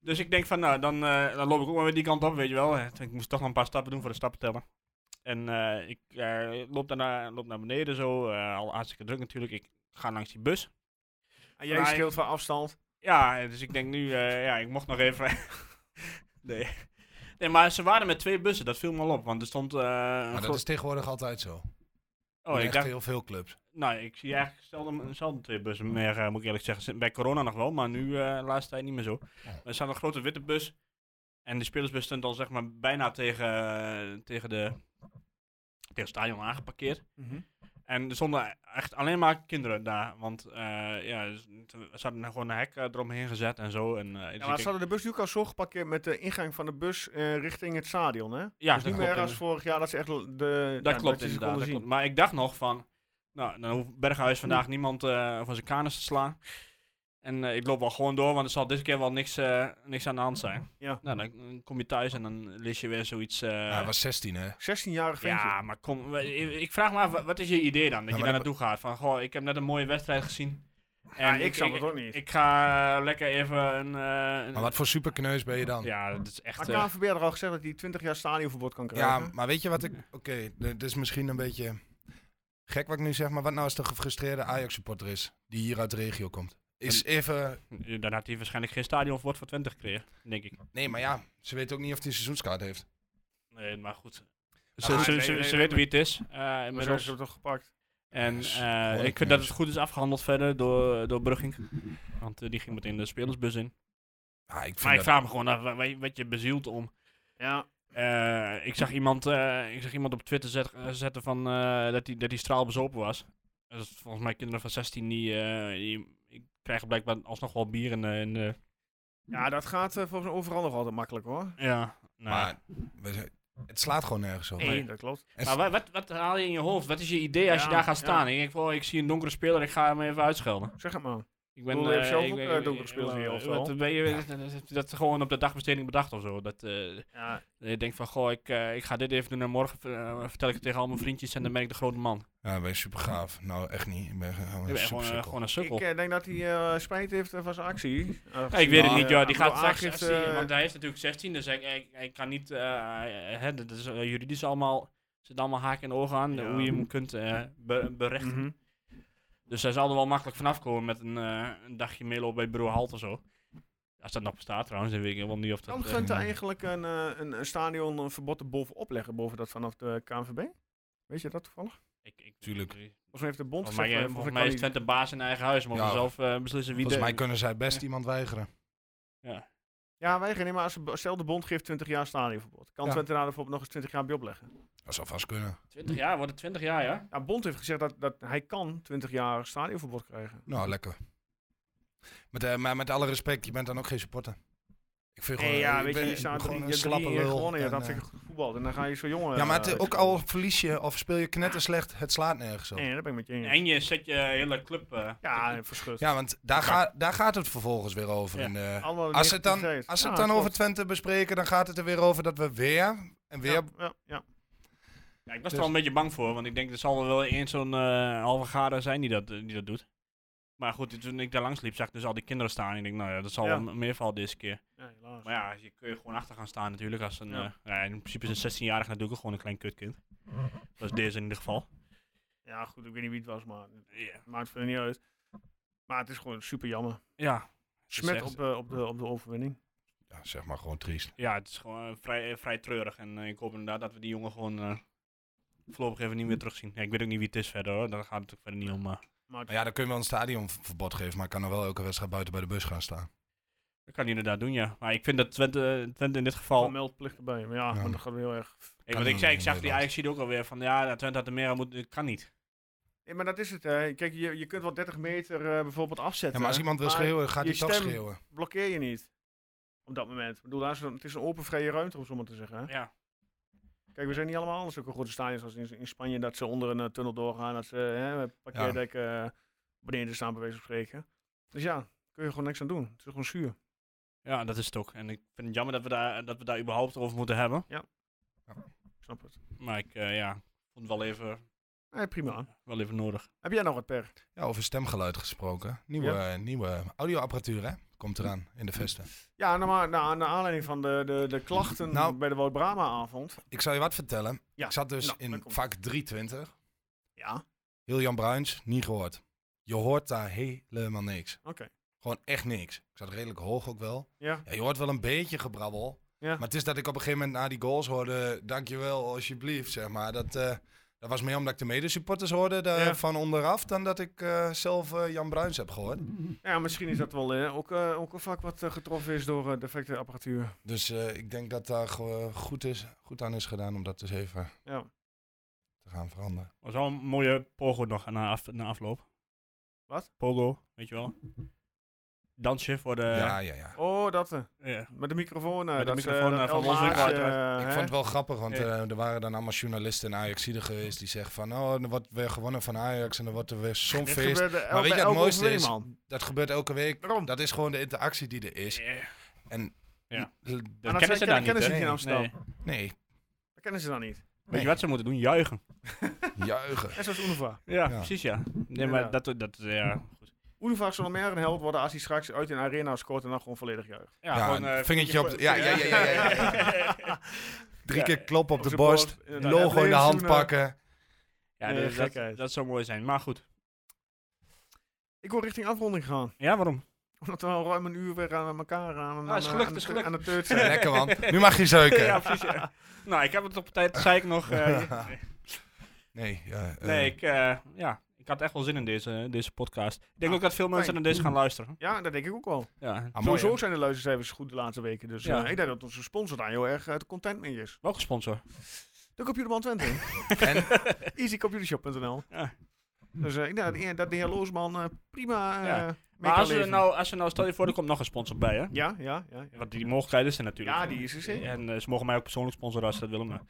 C: Dus ik denk van, nou, dan, eh, dan loop ik ook maar weer die kant op, weet je wel. Ik moest toch nog een paar stappen doen voor de stappen tellen. En eh, ik eh, loop, daarna, loop naar beneden zo, eh, al hartstikke druk natuurlijk. Ik ga langs die bus.
A: En
C: Maar
A: jij
C: hij-
A: scheelt van afstand.
C: Ja, dus ik denk nu, eh, ja, ik mocht nog even. nee. Nee, maar ze waren met twee bussen, dat viel me al op. Want er stond. eh, een
D: Maar dat
C: groot-
D: is tegenwoordig altijd zo.
C: oh, ik
D: echt
C: dacht,
D: heel veel clubs.
C: Nou, ik zie eigenlijk zelden, zelden twee bussen meer, eh, moet ik eerlijk zeggen. Zit Bij corona nog wel, maar nu eh, de laatste tijd niet meer zo. Er staat een grote witte bus. En de spelersbus stond al zeg maar bijna tegen, eh, tegen, de, tegen het stadion aangeparkeerd.
A: Mhm.
C: En er stonden echt alleen maar kinderen daar. Want eh, ja, er zaten gewoon een hek eh, eromheen gezet en zo. En, eh, dus
A: Ja,
C: ik
A: maar
C: denk-
A: ze hadden de bus nu ook al zo geparkeerd met de ingang van de bus eh, richting het stadion, hè?
C: ja,
A: dus
C: dat
A: niet meer
C: klopt.
A: als vorig jaar dat ze echt de...
C: Dat
A: ja,
C: klopt
A: je ze
C: inderdaad.
A: konden
C: dat
A: zien.
C: klopt. Maar ik dacht nog van, nou, dan hoeft Berghuis vandaag
A: Hm.
C: niemand eh, van zijn kanus te slaan. En eh, ik loop wel gewoon door, want er zal dit keer wel niks, eh, niks aan de hand zijn.
A: Ja.
C: Nou, dan, dan kom je thuis en dan lees je weer zoiets. eh,
D: ja, hij was 16, hè?
A: 16-jarig ventje.
C: ja, maar kom, we- ik, ik vraag me af, wa- wat is je idee dan? Dat
D: Ja,
C: je
D: maar
C: daar
D: dat-
C: naartoe gaat. Van, goh, ik heb net een mooie wedstrijd gezien. En
A: Ja, ik snap het ook niet.
C: Ik ga eh, lekker even een... eh, een-
D: Maar wat voor superkneus ben je dan?
C: Ja, dat is echt...
A: Maar
C: eh,
A: KNVB had er al gezegd dat hij 20 jaar stadionverbod kan
D: Ja,
A: krijgen.
D: maar weet je wat ik... Oké, dit is misschien een beetje gek wat ik nu zeg, maar wat nou als de gefrustreerde Ajax-supporter is, die hier uit de regio komt? Is even...
C: dan had hij waarschijnlijk geen stadionverbod voor 20 gekregen, denk ik.
D: Nee, maar ja, ze weten ook niet of hij een seizoenskaart heeft.
C: Nee, maar goed. Ze,
A: Ah,
C: ze,
A: nee,
C: ze,
A: nee,
C: ze
A: nee,
C: weten wie het is. eh,
A: Maar zo is
C: inmiddels.
A: het toch gepakt.
C: En
D: Dus,
C: eh,
D: gewoon
C: ik vind dat het goed is afgehandeld verder door, eh, door Brugging. Want eh, die ging meteen de spelersbus in.
D: Ah, ik
C: Maar
D: vind
C: ik
D: dat...
C: vraag me gewoon af, wa- wa- wat je bezielt om.
A: Ja,
C: Eh, ik, zag iemand, eh, ik zag iemand op Twitter zet- eh, zetten van, eh, dat die dat die straal bezopen was. Dat is volgens mij kinderen van 16 die, eh, die, die krijgen blijkbaar alsnog wel bier. In, de- in de,
A: ja dat gaat eh, volgens mij overal nog altijd makkelijk, hoor.
C: ja, nou. maar
D: Maar we zijn- het slaat gewoon nergens op.
A: Nee,
C: Nee.
A: dat klopt.
D: En
C: wa- wat, wat, haal je in je hoofd? Wat is je idee als je
A: Ja,
C: daar gaat
A: ja.
C: staan? Ik denk, van, oh, ik zie een donkere speler, ik ga hem even uitschelden.
A: Zeg het maar.
C: Ik ben
A: bedoel, je hebt
C: eh,
A: zelf
C: ik
A: ook,
C: ben-
A: eh,
C: ik-
A: donker gespeeld in je
C: eh,
A: hoofdstel.
C: wat ben je- dat- Dat gewoon op de dagbesteding bedacht of zo. Dat eh,
A: Ja,
C: dat je denkt van, goh, ik, eh, ik ga dit even doen en morgen eh, vertel ik het tegen al mijn vriendjes en dan ben ik de grote man.
D: Ja, ben je super gaaf. Nou, echt niet. Ik ben gewoon een
C: ik ben gewoon, eh,
D: supersukkel.
C: gewoon een
A: ik
C: sukkel.
A: eh, denk dat hij eh, spijt heeft eh, van zijn actie. eh,
C: Ja, ik weet het
A: Nou,
C: niet, joh. Die gaat straks
A: aangifte...
C: 16, want hij heeft natuurlijk 16, dus hij, hij, hij kan niet, eh, hè, dat is eh, juridisch allemaal, er zitten allemaal haken en ogen aan,
A: Ja.
C: hoe je hem kunt eh, be- berechten.
A: Mhm.
C: Dus hij zal er wel makkelijk vanaf komen met een, eh, een dagje meelopen bij Bureau Halt of zo. Als dat nog bestaat trouwens, dan weet ik helemaal niet of dat...
A: Kan
C: eh,
A: Twente eigenlijk een, eh, een, een stadion een verbod erboven opleggen, boven dat vanaf de KNVB? Weet je dat toevallig?
C: ik, ik,
D: Tuurlijk.
A: Volgens mij heeft de bond
C: Volgens mij,
A: gezegd,
C: eh,
A: eh,
C: volgens
A: kan
C: mij is
A: die-
C: Twente baas in eigen huis. Ze mogen
D: Ja.
C: zelf eh, beslissen wie
D: Volgens
C: de...
D: mij kunnen zij best iemand weigeren.
A: Ja, wij gaan niet, maar als, de bo- stel de bond geeft 20 jaar stadionverbod. Kan
D: Ja.
A: Twente daar bijvoorbeeld nog eens 20 jaar bij opleggen?
D: Dat zou vast kunnen.
C: 20 jaar, wordt het 20 jaar, ja?
A: Ja, bond heeft gezegd dat, dat hij kan 20 jaar stadionverbod krijgen.
D: Nou, lekker. Met, eh, maar met alle respect, je bent dan ook geen supporter. Ik vind
A: Nee, ja,
D: ik
A: weet je,
D: ben
A: je staat
D: gewoon
A: drie,
D: een
A: je
D: slappe
A: drie
D: lul
A: gewonnen. Ja,
D: en,
A: dat
D: eh,
A: vind ik goed voetbal. En dan ga je zo jongen...
D: ja, maar het,
A: eh,
D: ook al verlies je of speel je knetter slecht, het slaat nergens op.
A: Nee, dat ben ik met je eens.
C: En je zet je hele club... eh,
A: Ja, Oh, verschut.
D: Ja, want daar, ga, daar gaat het vervolgens weer over.
C: Ja.
D: in de-
A: Allemaal
D: als ze het dan,
A: negativiteit.
D: als ze het
A: Ja,
D: dan over
A: klopt.
D: Twente bespreken, dan gaat het er weer over dat we weer en weer...
A: Ja, ja, ja.
C: ja, ik was
D: Dus-
C: er al een beetje bang voor, want ik denk er zal er wel eens zo'n eh halve gade zijn die dat, eh, die dat doet. Maar goed, toen ik daar langs liep, zag ik dus al die kinderen staan. En ik denk, nou ja, dat zal
A: Ja.
C: wel meer vallen deze keer.
A: Ja, helaas.
C: Maar ja, je kun je gewoon achter gaan staan natuurlijk. Als een,
A: Ja.
C: eh, ja, in principe is een 16-jarige natuurlijk gewoon een klein kutkind. Dat is deze in ieder geval.
A: Ja, goed, ik weet niet wie het was, maar het
C: Ja,
A: maakt verder niet uit. Maar het is gewoon super jammer.
C: ja,
A: Smet
C: echt-
A: op, eh, op, de, op de overwinning.
D: Ja, zeg maar gewoon triest.
C: ja het is gewoon eh, vrij, eh, vrij treurig. En eh, ik hoop inderdaad dat we die jongen gewoon eh, voorlopig even niet meer terugzien. Ja, ik weet ook niet wie het is verder hoor, daar gaat het ook verder niet om. Maar
A: Maar het-
D: Nou ja, dan kun je wel een stadionverbod geven, maar ik kan er wel elke wedstrijd buiten bij de bus gaan staan.
C: dat kan hij inderdaad doen, ja. Maar ik vind dat Twente, eh, Twente in dit
A: wel
C: geval...
A: meldplicht erbij. Maar ja,
D: Ja.
A: maar dat gaat heel erg.
C: Ik,
D: Kan
C: want ik,
D: niet
C: zei,
D: in
C: ik zag die
D: Nederland.
C: Ajax ziet ook alweer van ja, dat Twente had er meer aan moeten. dat Kan niet.
A: Nee, maar dat is het. Hè. Kijk, je, je kunt wel 30 meter eh, bijvoorbeeld afzetten.
D: Ja, maar als iemand wil schreeuwen, gaat
A: je
D: hij toch
A: stem-
D: schreeuwen.
A: blokkeer je niet. Op dat moment. Ik bedoel, daar is een- het is een open vrije ruimte, om zo maar te zeggen. Hè?
C: Ja.
A: Kijk, we zijn niet allemaal anders. Ook een grote stadions als in, in Spanje, dat ze onder een eh, tunnel doorgaan. Dat ze hè, met parkeerdekken eh, beneden staan, bij wijze van spreken. Dus ja, kun je gewoon niks aan doen. Het is gewoon zuur.
C: ja, dat is het ook. En ik vind het jammer dat we daar, dat we daar überhaupt over moeten hebben.
A: Ik snap het.
C: Maar ik eh, ja, vond het wel even,
A: Nee, prima.
C: wel even nodig.
A: Heb jij nog wat per?
D: Ja, over stemgeluid gesproken. Nieuwe, eh, nieuwe audioapparatuur, hè? Komt eraan in de vesten.
A: Ja, nou maar na- naar aanleiding van de, de, de klachten
D: Nou.
A: bij de Wout Brama avond.
D: Ik zal je wat vertellen.
A: Ja,
D: Ik zat dus
A: nou, dan
D: in
A: komt-
D: vak 320.
A: Ja, oké.
D: Heel Jan Bruins, niet gehoord. Je hoort daar helemaal niks. Gewoon echt niks. Ik zat redelijk hoog ook wel.
A: Ja.
D: Ja, je hoort wel een beetje gebrabbel.
A: Ja.
D: Maar het is dat ik op een gegeven moment na die goals hoorde... Dankjewel, alsjeblieft, zeg maar. Dat, eh, dat was meer omdat ik de medesupporters hoorde daar-
A: Ja.
D: van onderaf... dan dat ik eh, zelf eh, Jan Bruins heb gehoord.
A: Ja, misschien is dat wel eh, ook, eh, ook een vak wat eh, getroffen is door eh, defecte apparatuur.
D: Dus eh, ik denk dat daar gewoon goed, is, goed aan is gedaan om dat dus even
A: Ja.
D: te gaan veranderen.
C: Was wel een mooie pogo nog na, af, na afloop.
A: Wat?
C: Pogo, weet je wel. Dansje voor de.
D: ja, ja, ja.
A: Oh, dat. eh,
C: ja.
A: Met de microfoon. eh,
C: Met de
A: dat is, eh,
C: microfoon,
A: dat
C: eh, van
A: El
C: Wolfswinkel
A: Maasje,
C: uiteraard.
A: eh,
D: Ik
A: hè?
D: vond het wel grappig, want
C: Ja.
D: eh, er waren dan allemaal journalisten en Ajaxiden geweest die zeggen van... oh, er wordt weer gewonnen van Ajax en er wordt er weer zo'n
A: Dit
D: feest.
A: gebeurde el-
D: weet je
A: bij
D: wat het
A: elke
D: mooiste
A: overwinning,
D: is?
A: man.
D: Dat gebeurt elke week.
A: Waarom?
D: Dat is gewoon de interactie die er is. En
C: Ja.
D: l-
A: dat
C: Dat kennen
A: zei-
C: ze daar niet.
A: kennen ze
C: hè?
A: niet in Amsterdam.
C: Nee.
D: nee,
A: Dat kennen ze dan niet.
C: Weet je wat ze moeten doen? Juichen.
D: juichen.
A: Net zoals Unova.
C: Ja,
D: Ja.
C: precies ja. Nee,
A: Ja.
C: maar dat, dat ja. Goed.
A: Unova zal meer een held worden als hij straks uit een arena scoort en dan gewoon volledig juicht.
C: Ja,
D: Ja,
C: gewoon, eh,
D: een vingertje op de- ja, ja, ja, ja, ja, Drie
C: Ja.
D: keer klop op
A: Op
D: de
A: zijn
D: borst.
A: borst, inderdaad.
D: Logo in de
A: Even
D: hand
A: zoenen.
D: pakken.
C: Ja,
A: Nee,
C: dat- dat,
A: gekheid.
C: dat, zou mooi zijn. Maar goed.
A: Ik wil richting afronding gaan.
C: Ja, waarom?
A: Omdat we al ruim een uur weer aan elkaar aan, aan,
C: Ah, is
A: aan-
C: gelukt,
A: aan,
C: is
A: de-
C: gelukt.
A: aan de teut zijn.
D: Lekker man. Nu mag je zeuken.
C: Ja, precies. ja. Nou, ik heb het op tijd, zei ik nog. eh,
D: Nee, ja, eh,
C: nee, ik, eh, ja, ik had echt wel zin in deze, deze podcast. Ik denk
A: Ah,
C: ook dat veel mensen
A: fijn.
C: naar deze gaan luisteren.
A: Ja, dat denk ik ook wel.
C: Ja.
D: ah, mooi,
A: Sowieso
D: hè?
A: zijn de luistercijfers goed de laatste weken. Dus
C: Ja.
A: eh, ik denk dat onze sponsor daar heel erg eh, content mee is.
C: Welke sponsor?
A: De Computerman Twente.
D: En
A: Easycomputershop.nl
C: Ja.
A: Dus eh, ik denk dat- dat de heer Loosman eh, prima eh
C: Ja.
A: mee
C: Maar
A: kan
C: als er,
A: leven.
C: nou, als er nou, stel je voor, er komt nog een sponsor bij, hè?
A: Ja, ja, ja. ja.
C: Want die mogelijkheid is er natuurlijk.
A: Ja, die is er zeker.
C: En eh, ze mogen mij ook persoonlijk sponsoren als ze dat willen. Maar.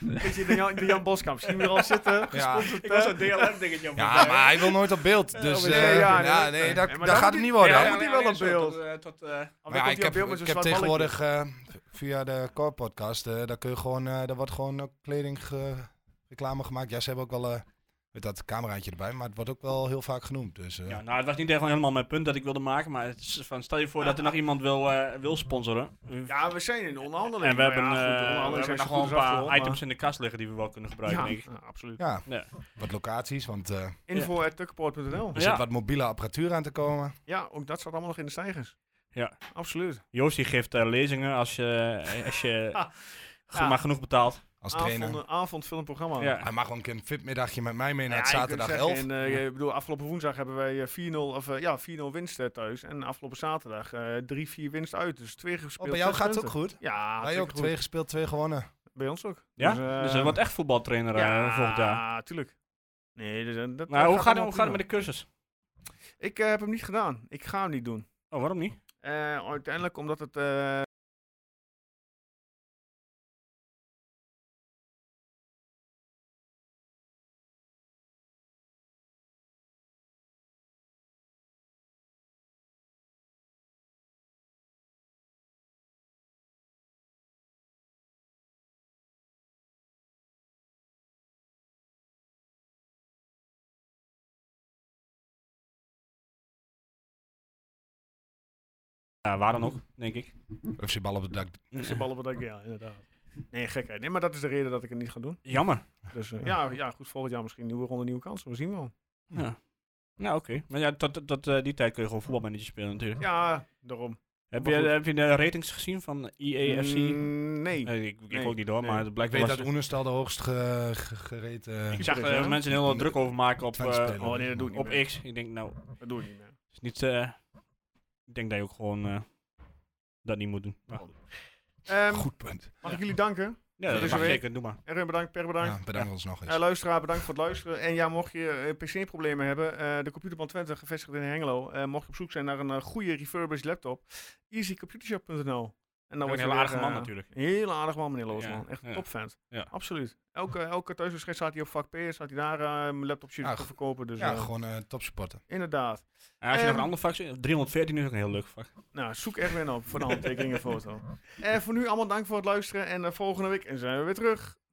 A: Weet je, de Jan, de Jan Boskamp, zien we er al zitten.
D: Ja.
A: Gesponsord,
C: Ik was
A: eh.
C: een DLM-dingetje.
D: Ja, maar hij wil nooit op beeld. Dus
A: nee,
D: eh,
A: ja,
D: ja,
A: nee, nee.
D: nee, dat,
A: Nee, maar
D: dat
A: Oh, dan moet
D: gaat het niet
A: hij-
D: worden.
A: ja,
D: hè?
A: moet hij wel op beeld.
C: Tot, eh,
A: Oh, dan
D: Maar ja,
A: komt
D: ik
A: hij op
D: heb,
A: beeld met
D: ik
A: zo'n
D: heb
A: zwart
D: tegenwoordig eh, via de Core Podcast, eh, daar kun je gewoon, eh, daar wordt gewoon ook kleding ge- reclame gemaakt. Ja, ze hebben ook wel eh, met dat cameraatje erbij, maar het wordt ook wel heel vaak genoemd. Dus, eh,
C: ja, nou, het was niet echt helemaal mijn punt dat ik wilde maken. Maar het is van, stel je voor dat er nog iemand wil, eh, wil sponsoren.
A: balletje. Ja, we zijn in onderhandeling.
C: en we
A: maar ja,
C: hebben,
A: goed, de
C: eh, we
A: onderhandelingen zijn
C: hebben nog
A: zo
C: wel een
A: goed als
C: paar
A: afgerond,
C: items in de kast liggen die we wel kunnen
A: maar-
C: gebruiken, denk ik.
A: Ja, ja, absoluut.
D: ja,
C: Ja.
D: wat locaties, want eh, er
A: Info.tukkenpoort.nl.
C: Ja.
D: zit wat mobiele apparatuur aan te komen.
A: Ja, ook dat staat allemaal nog in de stijgers.
C: Ja.
A: Absoluut.
C: Joost die geeft eh, lezingen als je, eh, als je
A: Ah,
C: ge-
A: ja.
C: maar genoeg betaalt.
D: Als trainer.
A: Avond, avondfilmprogramma.
C: Ja.
D: Hij mag wel een keer een fitmiddagje met mij mee naar het
A: Ja, je kunt
D: zaterdag
A: zeggen,
D: 11.
A: En, eh, ik bedoel, afgelopen woensdag hebben wij eh, 4-0 of, eh, ja, 4-0 winst eh, thuis. En afgelopen zaterdag eh 3-4 winst uit. Dus twee
D: Oh,
A: gespeeld.
D: bij jou
A: zes
D: gaat het ook
A: punten.
D: goed.
A: Ja,
D: Wij ook
A: hartstikke
D: twee gespeeld, twee gewonnen.
A: goed. Bij ons ook.
C: Ja?
A: Dus, eh,
C: Dus dat wordt echt voetbaltrainer
A: ja,
C: eh, volgend jaar.
A: tuurlijk. Nee, dus, eh, dat,
C: Maar hoe gaat,
A: het
C: hoe gaat het met de cursus?
A: Ik eh, heb hem niet gedaan. Ik ga hem niet doen.
C: Oh, waarom niet?
A: Eh, uiteindelijk omdat het eh,
C: Ja, waar dan ook, denk ik.
D: FC bal op het dak.
A: Ze ballen wat ik, ja, inderdaad. Nee, gekheid. Nee, maar dat is de reden dat ik het niet ga doen.
C: Jammer.
A: Dus eh, ja, ja, goed, volgend jaar misschien nieuwe ronde, nieuwe kansen. We zien wel.
C: Ja. Nou, oké. Maar ja, tot, tot, tot, eh, die tijd kun je gewoon voetbalmanager spelen natuurlijk.
A: Ja, daarom.
C: Heb,
A: maar
C: je,
A: goed.
C: heb je de ratings gezien van E EAFC?
A: Mm, nee.
C: Eh, ik ik
A: Nee.
C: ook niet hoor,
A: Nee.
C: maar het
D: Ik
C: blijkt wel
D: weet dat
C: lastig.
D: Oenestal de hoogst ge- ge- gereten...
C: Ik zag
A: is,
C: eh,
A: hè?
C: mensen heel wat druk over maken op,
D: Twente
C: eh,
D: spelen.
A: oh, nee, dat doe ik niet
C: op
A: meer.
C: X. Ik denk, nou, het
A: Dat doe ik niet meer.
C: is niet... eh, ik denk dat je ook gewoon eh, dat niet moet doen. Maar goed.
A: Ehm,
D: Goed punt.
A: mag ik jullie danken?
C: ja,
A: is
C: dat mag
A: er weer.
C: zeker. Doe maar.
A: Erwin bedankt, Per bedankt.
D: Ja, bedankt ons nog
A: Eh,
D: eens.
A: luisteraar, bedankt voor het luisteren. En ja, mocht je eh, PC-problemen hebben, eh, de computer van Twente, gevestigd in Hengelo, eh, mocht je op zoek zijn naar een eh, goede refurbished laptop, easycomputershop.nl. En dan
C: Ook
A: wordt
C: Een
A: je
C: heel
A: weer,
C: aardige man
A: eh,
C: natuurlijk.
A: een Heel aardig man, meneer Loosman.
C: Ja,
A: Echt een
C: ja.
A: topvent.
C: Ja.
A: Absoluut. Elke, elke thuiswedstrijd staat hij op vak P, staat hij daar eh, mijn laptopje
D: Ja,
A: te
D: goed.
A: verkopen. Dus
D: Ja,
A: eh,
D: gewoon eh topsupporter.
A: inderdaad.
C: En als je nog
A: Ehm,
C: een ander vak ziet, 314 is ook een heel leuk vak.
A: Nou, zoek Erwin op voor de handtekening en foto. En voor nu allemaal dank voor het luisteren en eh, volgende week zijn we weer terug.